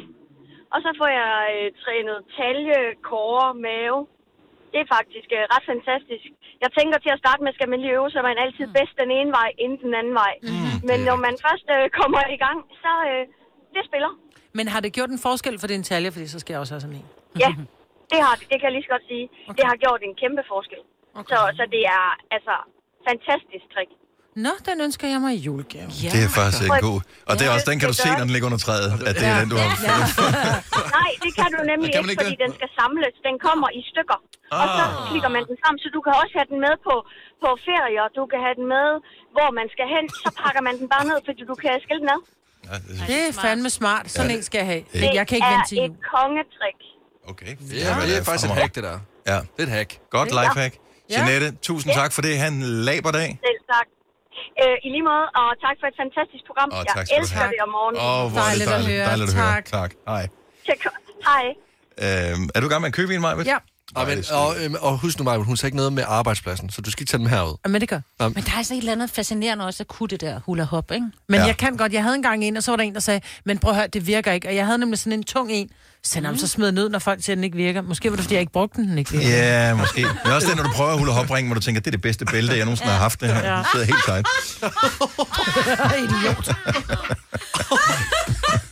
Og så får jeg øh, trænet talje, kåre, mave. Det er faktisk øh, ret fantastisk. Jeg tænker til at starte med, skal man lige øve sig, man er altid bedst den ene vej, inden den anden vej. Mm, Men når man først øh, kommer i gang, så øh, det spiller.
Men har det gjort en forskel for din talje? Fordi så skal jeg også have sådan en.
Ja, det har det. Det kan jeg lige så godt sige. Okay. Det har gjort en kæmpe forskel. Okay. Så, så det er altså fantastisk trick.
Nå, den ønsker jeg mig i julegave. Ja.
Det er faktisk øh,
Prøv-
god. Og det er også, den kan du se, når den ligger under træet, at det er den, du har.
Nej, det kan du nemlig
Kan man
ikke,
ikke
fordi den skal samles. Den kommer i stykker. Og så
Ah.
klikker man den frem, så du kan også have den med på, på ferie, og du kan have den med, hvor man skal hen. Så pakker man den bare ned, fordi du kan skille den ad.
Det er fandme smart. Sådan
Ja.
en skal jeg have.
Det
Jeg kan ikke vente til
er et
jul.
kongetrik.
Okay.
Det er, det er faktisk et hack, det der.
Ja. Det
er et hack.
Godt
Ja.
lifehack.
Ja.
Janette, tusind
Ja.
tak for det. Han laber dag.
Selv tak. Øh, I lige måde, og tak for et fantastisk program.
Og
jeg
tak skal du
elsker
have.
det om morgenen.
Åh, oh, hvor er det dejligt, dejligt, dejligt at høre. Tak. Hej.
Tak. Hej.
Øhm, er du i gang med at købe en, Majbet?
Og, men, og, øhm, og husk nu, Maja, hun sagde ikke noget med arbejdspladsen, så du skal ikke tage dem herud.
Men det gør.
Nå,
Men der er altså et eller andet fascinerende også at kunne det der hula hop, ikke?
Men
Ja.
ja. jeg kan godt. Jeg havde engang en, og så var der en, der sagde, men prøv at høre, det virker ikke. Og jeg havde nemlig sådan en tung en. Så mm. så smed den ud, når folk siger, at den ikke virker. Måske var det, fordi jeg ikke brugte den, den ikke virker.
Ja, måske. Men også det, når du prøver at hulle hopringe, hvor du tænker, det er det bedste bælte, jeg nogensinde har haft. Det her.
Ja.
Det sidder helt tight.
Idiot.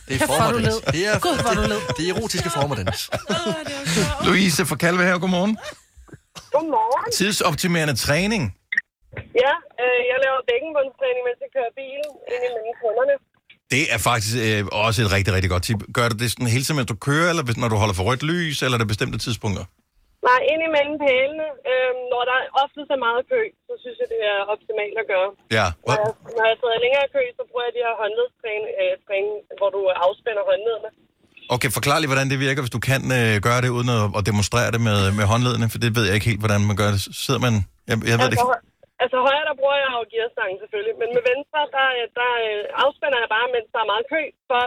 Det er
Kæft, hvor
former,
du
Dennis.
led.
Det er,
Gud, hvor du led.
det er erotiske former, Dennis.
Louise fra Kalve her, godmorgen.
Godmorgen.
Tidsoptimerende træning.
Ja, øh, jeg laver bækkenbundstræning, mens jeg kører bil ind imellem kunderne.
Det er faktisk øh, også et rigtig, rigtig godt tip. Gør du det sådan hele tiden, mens du kører, eller hvis- når du holder for rødt lys, eller er der bestemte tidspunkter?
Nej, ind imellem pælene. Øh, når der er ofte så meget kø, så synes jeg, det er optimalt at gøre.
Ja.
Når jeg, når jeg sidder længere i kø, så bruger jeg de her håndledstræning, øh, træning, hvor du afspænder håndledene.
Okay, forklar lige, hvordan det virker, hvis du kan øh, gøre det, uden at, at demonstrere det med, med håndledene, for det ved jeg ikke helt, hvordan man gør det. Sidder man... Jeg, jeg ved det
altså,
ikke.
hø- altså højre, der bruger jeg jo gearstangen selvfølgelig, men med venstre, der, øh, der øh, afspænder jeg bare, mens der er meget kø, for,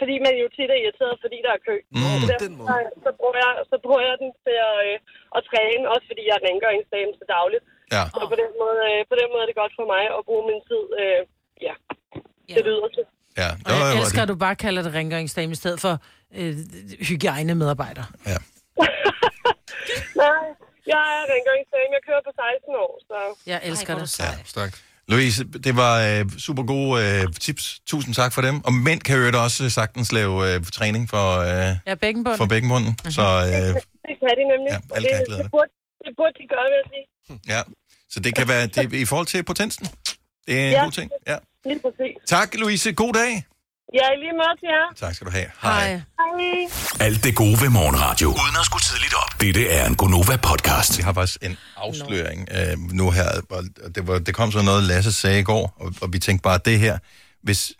fordi man jo tit er irriteret, fordi der er kø.
Mm.
Så, derfor, så, så, bruger jeg, så bruger jeg den til at, øh, at træne, også fordi jeg er rengøringsdame til dagligt.
Ja.
Så på den, måde, øh, på den måde er det godt for mig at bruge min tid øh, ja, til det yderste.
Ja,
Og jeg elsker, at du bare kalder det rengøringsdame i stedet for øh, hygiejnemedarbejder.
Nej, jeg er rengøringsdame, jeg kører på 16 år, så...
Jeg elsker det.
Ja, stærkt. Louise, det var øh, super gode øh, tips. Tusind tak for dem. Og mænd kan jo også sagtens lave øh, træning for, øh,
Ja, bækkenbunden. Mhm.
for bækkenbunden. Mm-hmm. Så, øh,
Det kan de nemlig.
Ja,
Og
alle
det,
kan glæde
det,
det.
burde, det burde de gøre, vil jeg sige.
ja. så det kan være det, i forhold til potensen. Det er en
Ja.
god ting. Ja.
Lige præcis.
Tak, Louise. God dag.
Ja, i lige måde til jer.
Tak skal du have.
Hej.
Alt det gode ved morgenradio. Uden at skulle tidligt op. Dette er en Gonova-podcast.
Vi har faktisk en afsløring øh, nu her. og- og Det, var, det kom sådan noget, Lasse sagde i går, og, og vi tænkte bare, det her, hvis,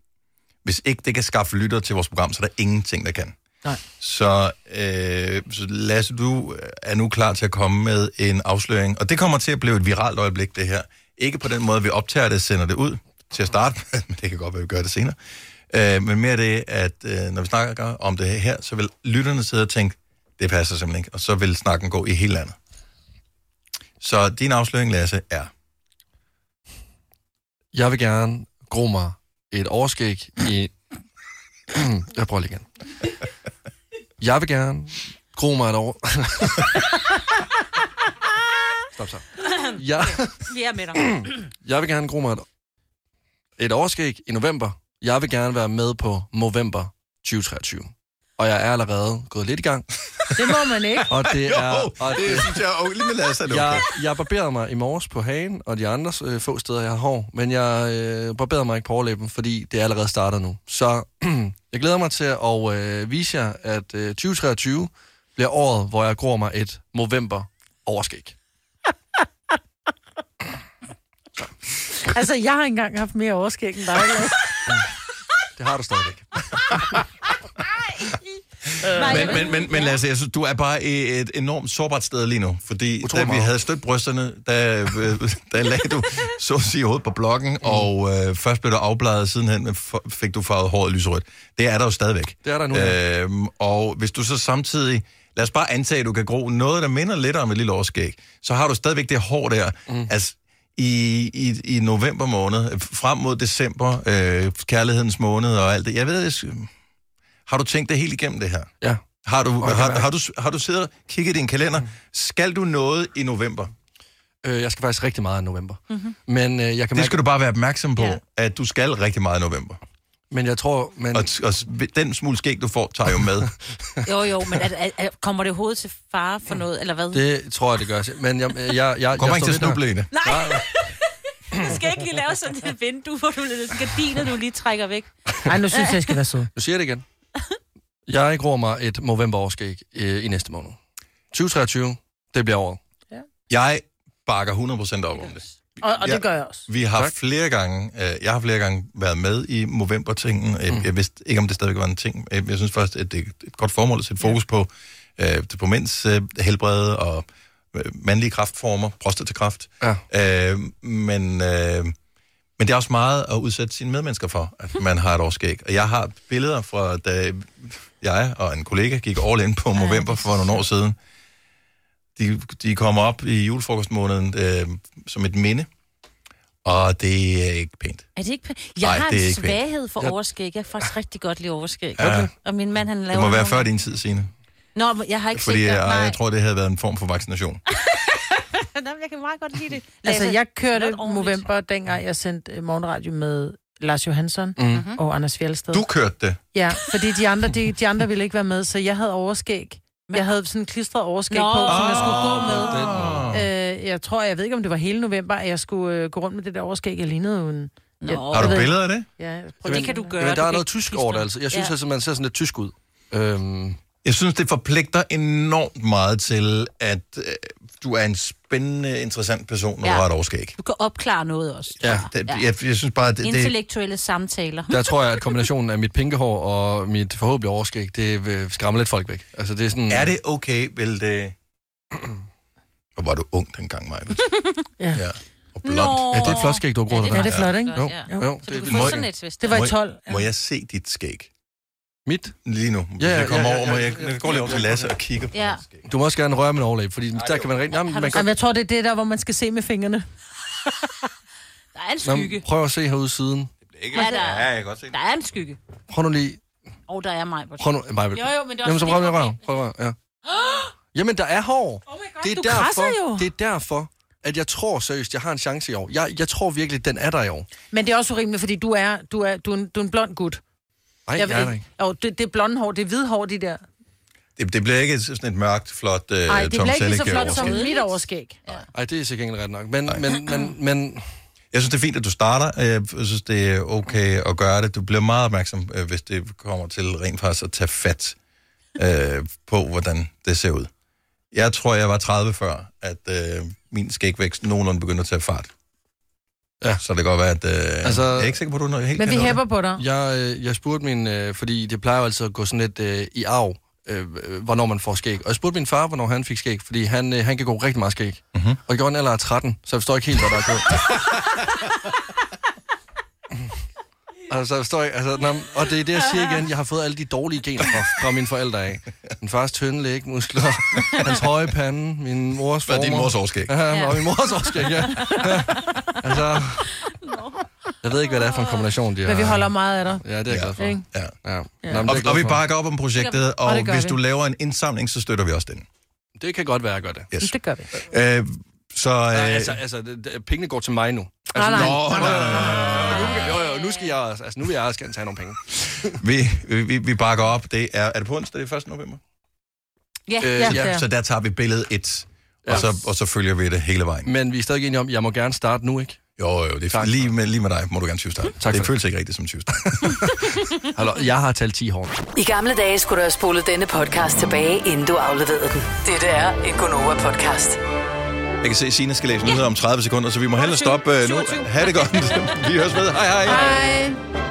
hvis ikke det kan skaffe lytter til vores program, så er der ingenting, der kan.
Nej.
Så, øh, så Lasse, du er nu klar til at komme med en afsløring, og det kommer til at blive et viralt øjeblik, det her. Ikke på den måde, vi optager det og sender det ud til at starte med, men det kan godt være, vi gør det senere. Øh, men mere det, at øh, når vi snakker om det her, så vil lytterne sidde og tænke, det passer simpelthen ikke, og så vil snakken gå i hele landet. Så din afsløring, Lasse, er...
Jeg vil gerne gro mig et overskæg i... Jeg prøver lige igen. Jeg vil gerne gro mig et over... Stop så. Jeg,
Vi er med dig.
jeg vil gerne gro mig et, et overskæg i november. Jeg vil gerne være med på Movember 2023. Og jeg er allerede gået lidt i gang.
Det må man ikke.
Og det er...
Jo,
og
det synes jeg jo lige med Lasse er det
jeg, jeg barberede mig i morges på hagen, og de andre øh, få steder, jeg har hår. Men jeg øh, barberede mig ikke på overlæben, fordi det allerede starter nu. Så jeg glæder mig til at øh, vise jer, at øh, 2023 bliver året, hvor jeg gror mig et november overskæg.
Altså, jeg har engang haft mere overskæg end dig. Lasse.
Det har du stadigvæk.
Øh,
Men, men, men, men Lasse, jeg synes, du er bare i et enormt sårbart sted lige nu. Fordi da vi havde stødt brysterne, der, øh, der lagde du så at sige hovedet på blokken, mm. og øh, først blev du afbladet, sidenhen f- fik du farvet håret lyserødt. Det er der jo stadigvæk.
Det er der nu, ja.
Øhm, og hvis du så samtidig, lad os bare antage, at du kan gro noget, der minder lidt om et lille årskæg, så har du stadigvæk det hår der. Mm. Altså, i, i, i november måned, øh, frem mod december, øh, kærlighedens måned og alt det. Jeg ved, jeg- har du tænkt det helt igennem det her?
Ja.
Har du,
jeg
har,
mærker-
har, du, har du siddet og kigget i din kalender? Skal du noget i november?
Øh, jeg skal faktisk rigtig meget i november.
Mhm.
Mm-hmm. Men øh, jeg kan
Det
mærke,
skal du bare være opmærksom på, ja. at du skal rigtig meget i november.
Men jeg tror... Men...
Og, og s- den smule skæg, du får, tager jo med.
Jo, jo, men er, er, er, kommer det overhovedet til fare for noget, eller hvad?
Det tror jeg, det gør. Men jeg, jeg, jeg, jeg
Kommer ikke
står
til at
ved
snuble i det.
Nej! Du skal ikke lige lave sådan et vindue, hvor du lidt gardiner, du lige trækker væk.
Ej, nu synes jeg, jeg skal være sød.
Nu siger jeg det igen. Jeg gror mig et novemberårskæg øh, i næste måned. 2023, det bliver året.
Jeg bakker 100% op om det.
Og, og
Ja.
det gør jeg også.
Vi har tak. flere gange, øh, jeg har flere gange været med i Movember-tingen. Jeg,
Mm.
jeg vidste ikke, om det stadigvæk var en ting. Jeg, jeg synes faktisk, at det er et godt formål at sætte fokus på, øh, det- på mænds øh, helbrede og øh, mandlige kraftformer, prostatakræft. Ja. Øh, men, øh, men det er også meget at udsætte sine medmennesker for, at man har et årskæg. Og jeg har billeder fra, da jeg og en kollega gik all in på Movember for nogle år siden. De, de kommer op i julefrokostmåneden øh, som et minde, og det er ikke pænt.
Er det ikke pæ- Jeg
Nej,
har
det er
en
ikke pænt.
svaghed for
Jeg-
overskæg. Jeg kan faktisk rigtig godt lide overskæg.
Ja. Okay.
Og min mand, han laver...
Det må være
nogle-
før din tid, Signe.
Nå, men jeg har ikke
Fordi øh,
set
jeg,
det. Nej,
jeg tror, det havde været en form for vaccination.
Nå, men jeg kan meget godt lide det.
Altså, jeg kørte november, dengang jeg sendte øh, morgenradio med Lars Johansson
Mhm.
Mm.
mm-hmm. og Anders Fjeldsted.
Du kørte det.
Ja, fordi de andre, de, de andre ville ikke være med, så jeg havde overskæg. Jeg havde sådan klistret overskæg
Nå.
Nå. på, som jeg skulle gå
Den
Ah.
med. Øh, jeg tror, jeg ved ikke, om det var hele november, at jeg skulle øh, gå rundt med det der overskæg, jeg lignede uden. Jeg,
Har du
jeg ved-
billeder af det?
Ja, jeg-
Prøv, det kan du gøre.
Jamen, der
Du
er
kan
noget
ikke
tysk
spise
over det,
noget.
altså. Jeg synes
Ja.
altså, man ser sådan lidt tysk ud. Øhm.
Jeg synes, det forpligter enormt meget til, at øh, du er en spændende, interessant person, når ja.
Ja.
du har et årskæg.
Du kan opklare noget også.
Ja, det, jeg, jeg synes bare, det, det,
Intellektuelle samtaler.
Der tror jeg, at kombinationen af mit pinkehår og mit forhåbentlig overskæg, det vil skræmme lidt folk væk. Altså, det er sådan...
Er det okay, vel det... Hvor var du ung dengang, Maja?
ja.
ja. Og blond.
Ja, det er et flot skæg, du har groet
Ja, det- ja, det er flot, ikke?
Jo,
Ja.
jo.
Så du kan få
Må-
sådan et, hvis det var i
må-
12, ja.
Må jeg se dit skæg?
Mit?
Lige nu. Hvis
Ja, ja,
jeg kommer
ja, ja,
over, må
ja,
jeg,
ja.
jeg går lige over til Lasse og kigger på
Ja.
Du må også gerne røre min overlæb, fordi der kan man rigtig... Jamen, man
Jamen, jeg tror, det er det der, hvor man skal se med fingrene.
Der er en
Nå,
skygge.
prøv at se herude siden.
ikke-
Ja, der-
Ja, jeg kan godt se det.
Der er en skygge.
Prøv nu lige...
Og der er mig.
Prøv nu... Maja,
Jo, jo, men det er
Jamen, så
også...
prøv lige at røre. Prøv at røre, ja. Jamen, der er hår. Oh det er
du
derfor,
krasser jo.
Det er derfor, at jeg tror seriøst, jeg har en chance i år. Jeg, jeg tror virkelig, den er der i år.
Men det er også urimeligt, fordi du er, du er, du er, en, du er en blond gut.
Nej,
jeg, ved
jeg er der ikke.
Jo, det, det er blonde hår, det er hvide hår, de der.
Det, det bliver ikke sådan et mørkt, flot øh,
Nej, det
Tom
bliver ikke lige så
Selleck, øh,
flot som
overskæg.
mit overskæg.
Ej, det er så gengæld ret nok. Men, men, men, men...
Jeg synes, det er fint, at du starter. Jeg synes, det er okay at gøre det. Du bliver meget opmærksom, øh, hvis det kommer til rent faktisk at tage fat øh, på, hvordan det ser ud. Jeg tror, jeg var 30 før, at øh, min skægvækst nogenlunde begyndte at tage fart.
Ja.
Så det kan godt være, at... Øh, altså,
Altså-
jeg er ikke sikker på, at du er helt
Men vi
kan nå
hæpper på dig.
Jeg, øh, jeg spurgte min... Øh, fordi det plejer jo altid at gå sådan lidt øh, i arv, øh, øh, hvornår man får skæg. Og jeg spurgte min far, hvornår han fik skæg, fordi han, øh, han kan gå rigtig meget skæg. Mm-hmm.
Mhm.
Og i går en alder af 13, så jeg forstår ikke helt, hvad der er gået. Altså, jeg forstår ikke, altså, nå, men- og det er det, jeg siger igen. Jeg har fået alle de dårlige gener fra, fra mine forældre af. Min fars tynde lægmuskler, hans høje pande, min mors
Hvad er
former.
din mors overskæg?
Ja, og
Ja.
min mors årskæg, ja. ja. Altså, jeg ved ikke, hvad det er for en kombination, de har.
Men vi holder meget af dig.
Ja, det er jeg glad for.
Ikke?
Ja.
ja.
det. og, og vi bakker op om projektet,
Og
og,
det gør
hvis
vi.
du laver en indsamling, så støtter vi også den.
Det kan godt være, jeg gør det.
Yes.
Det gør vi.
Øh, så... Øh,
Nej, altså, altså det, det, pengene går til mig nu.
Nej,
Altså,
nej.
Nå,
Nej,
nej,
nej,
nej, nej. Jo, jo, nu skal jeg, altså, nu vil jeg også gerne tage nogle penge.
vi, vi, vi bakker op. Det er, er det på onsdag, det er 1. november?
Ja,
Øh,
ja, ja.
Så der tager vi billedet et, og, så, og så følger vi det hele vejen.
Men vi er stadig enige om, jeg må gerne starte nu, ikke?
Jo, jo, det er lige med, lige med dig, må du gerne tyvstarte. Tak det føles ikke rigtigt som tyvstart.
Hallo, jeg har talt 10 hårdt.
I gamle dage skulle du have spolet denne podcast tilbage, inden du afleverede den. Dette er en Gonova-podcast.
Jeg kan se, at Signe skal læse nyheder om 30 sekunder, så vi må hellere stoppe øh, nu. Ha' det godt. Vi høres ved. Hej hej.
Hej.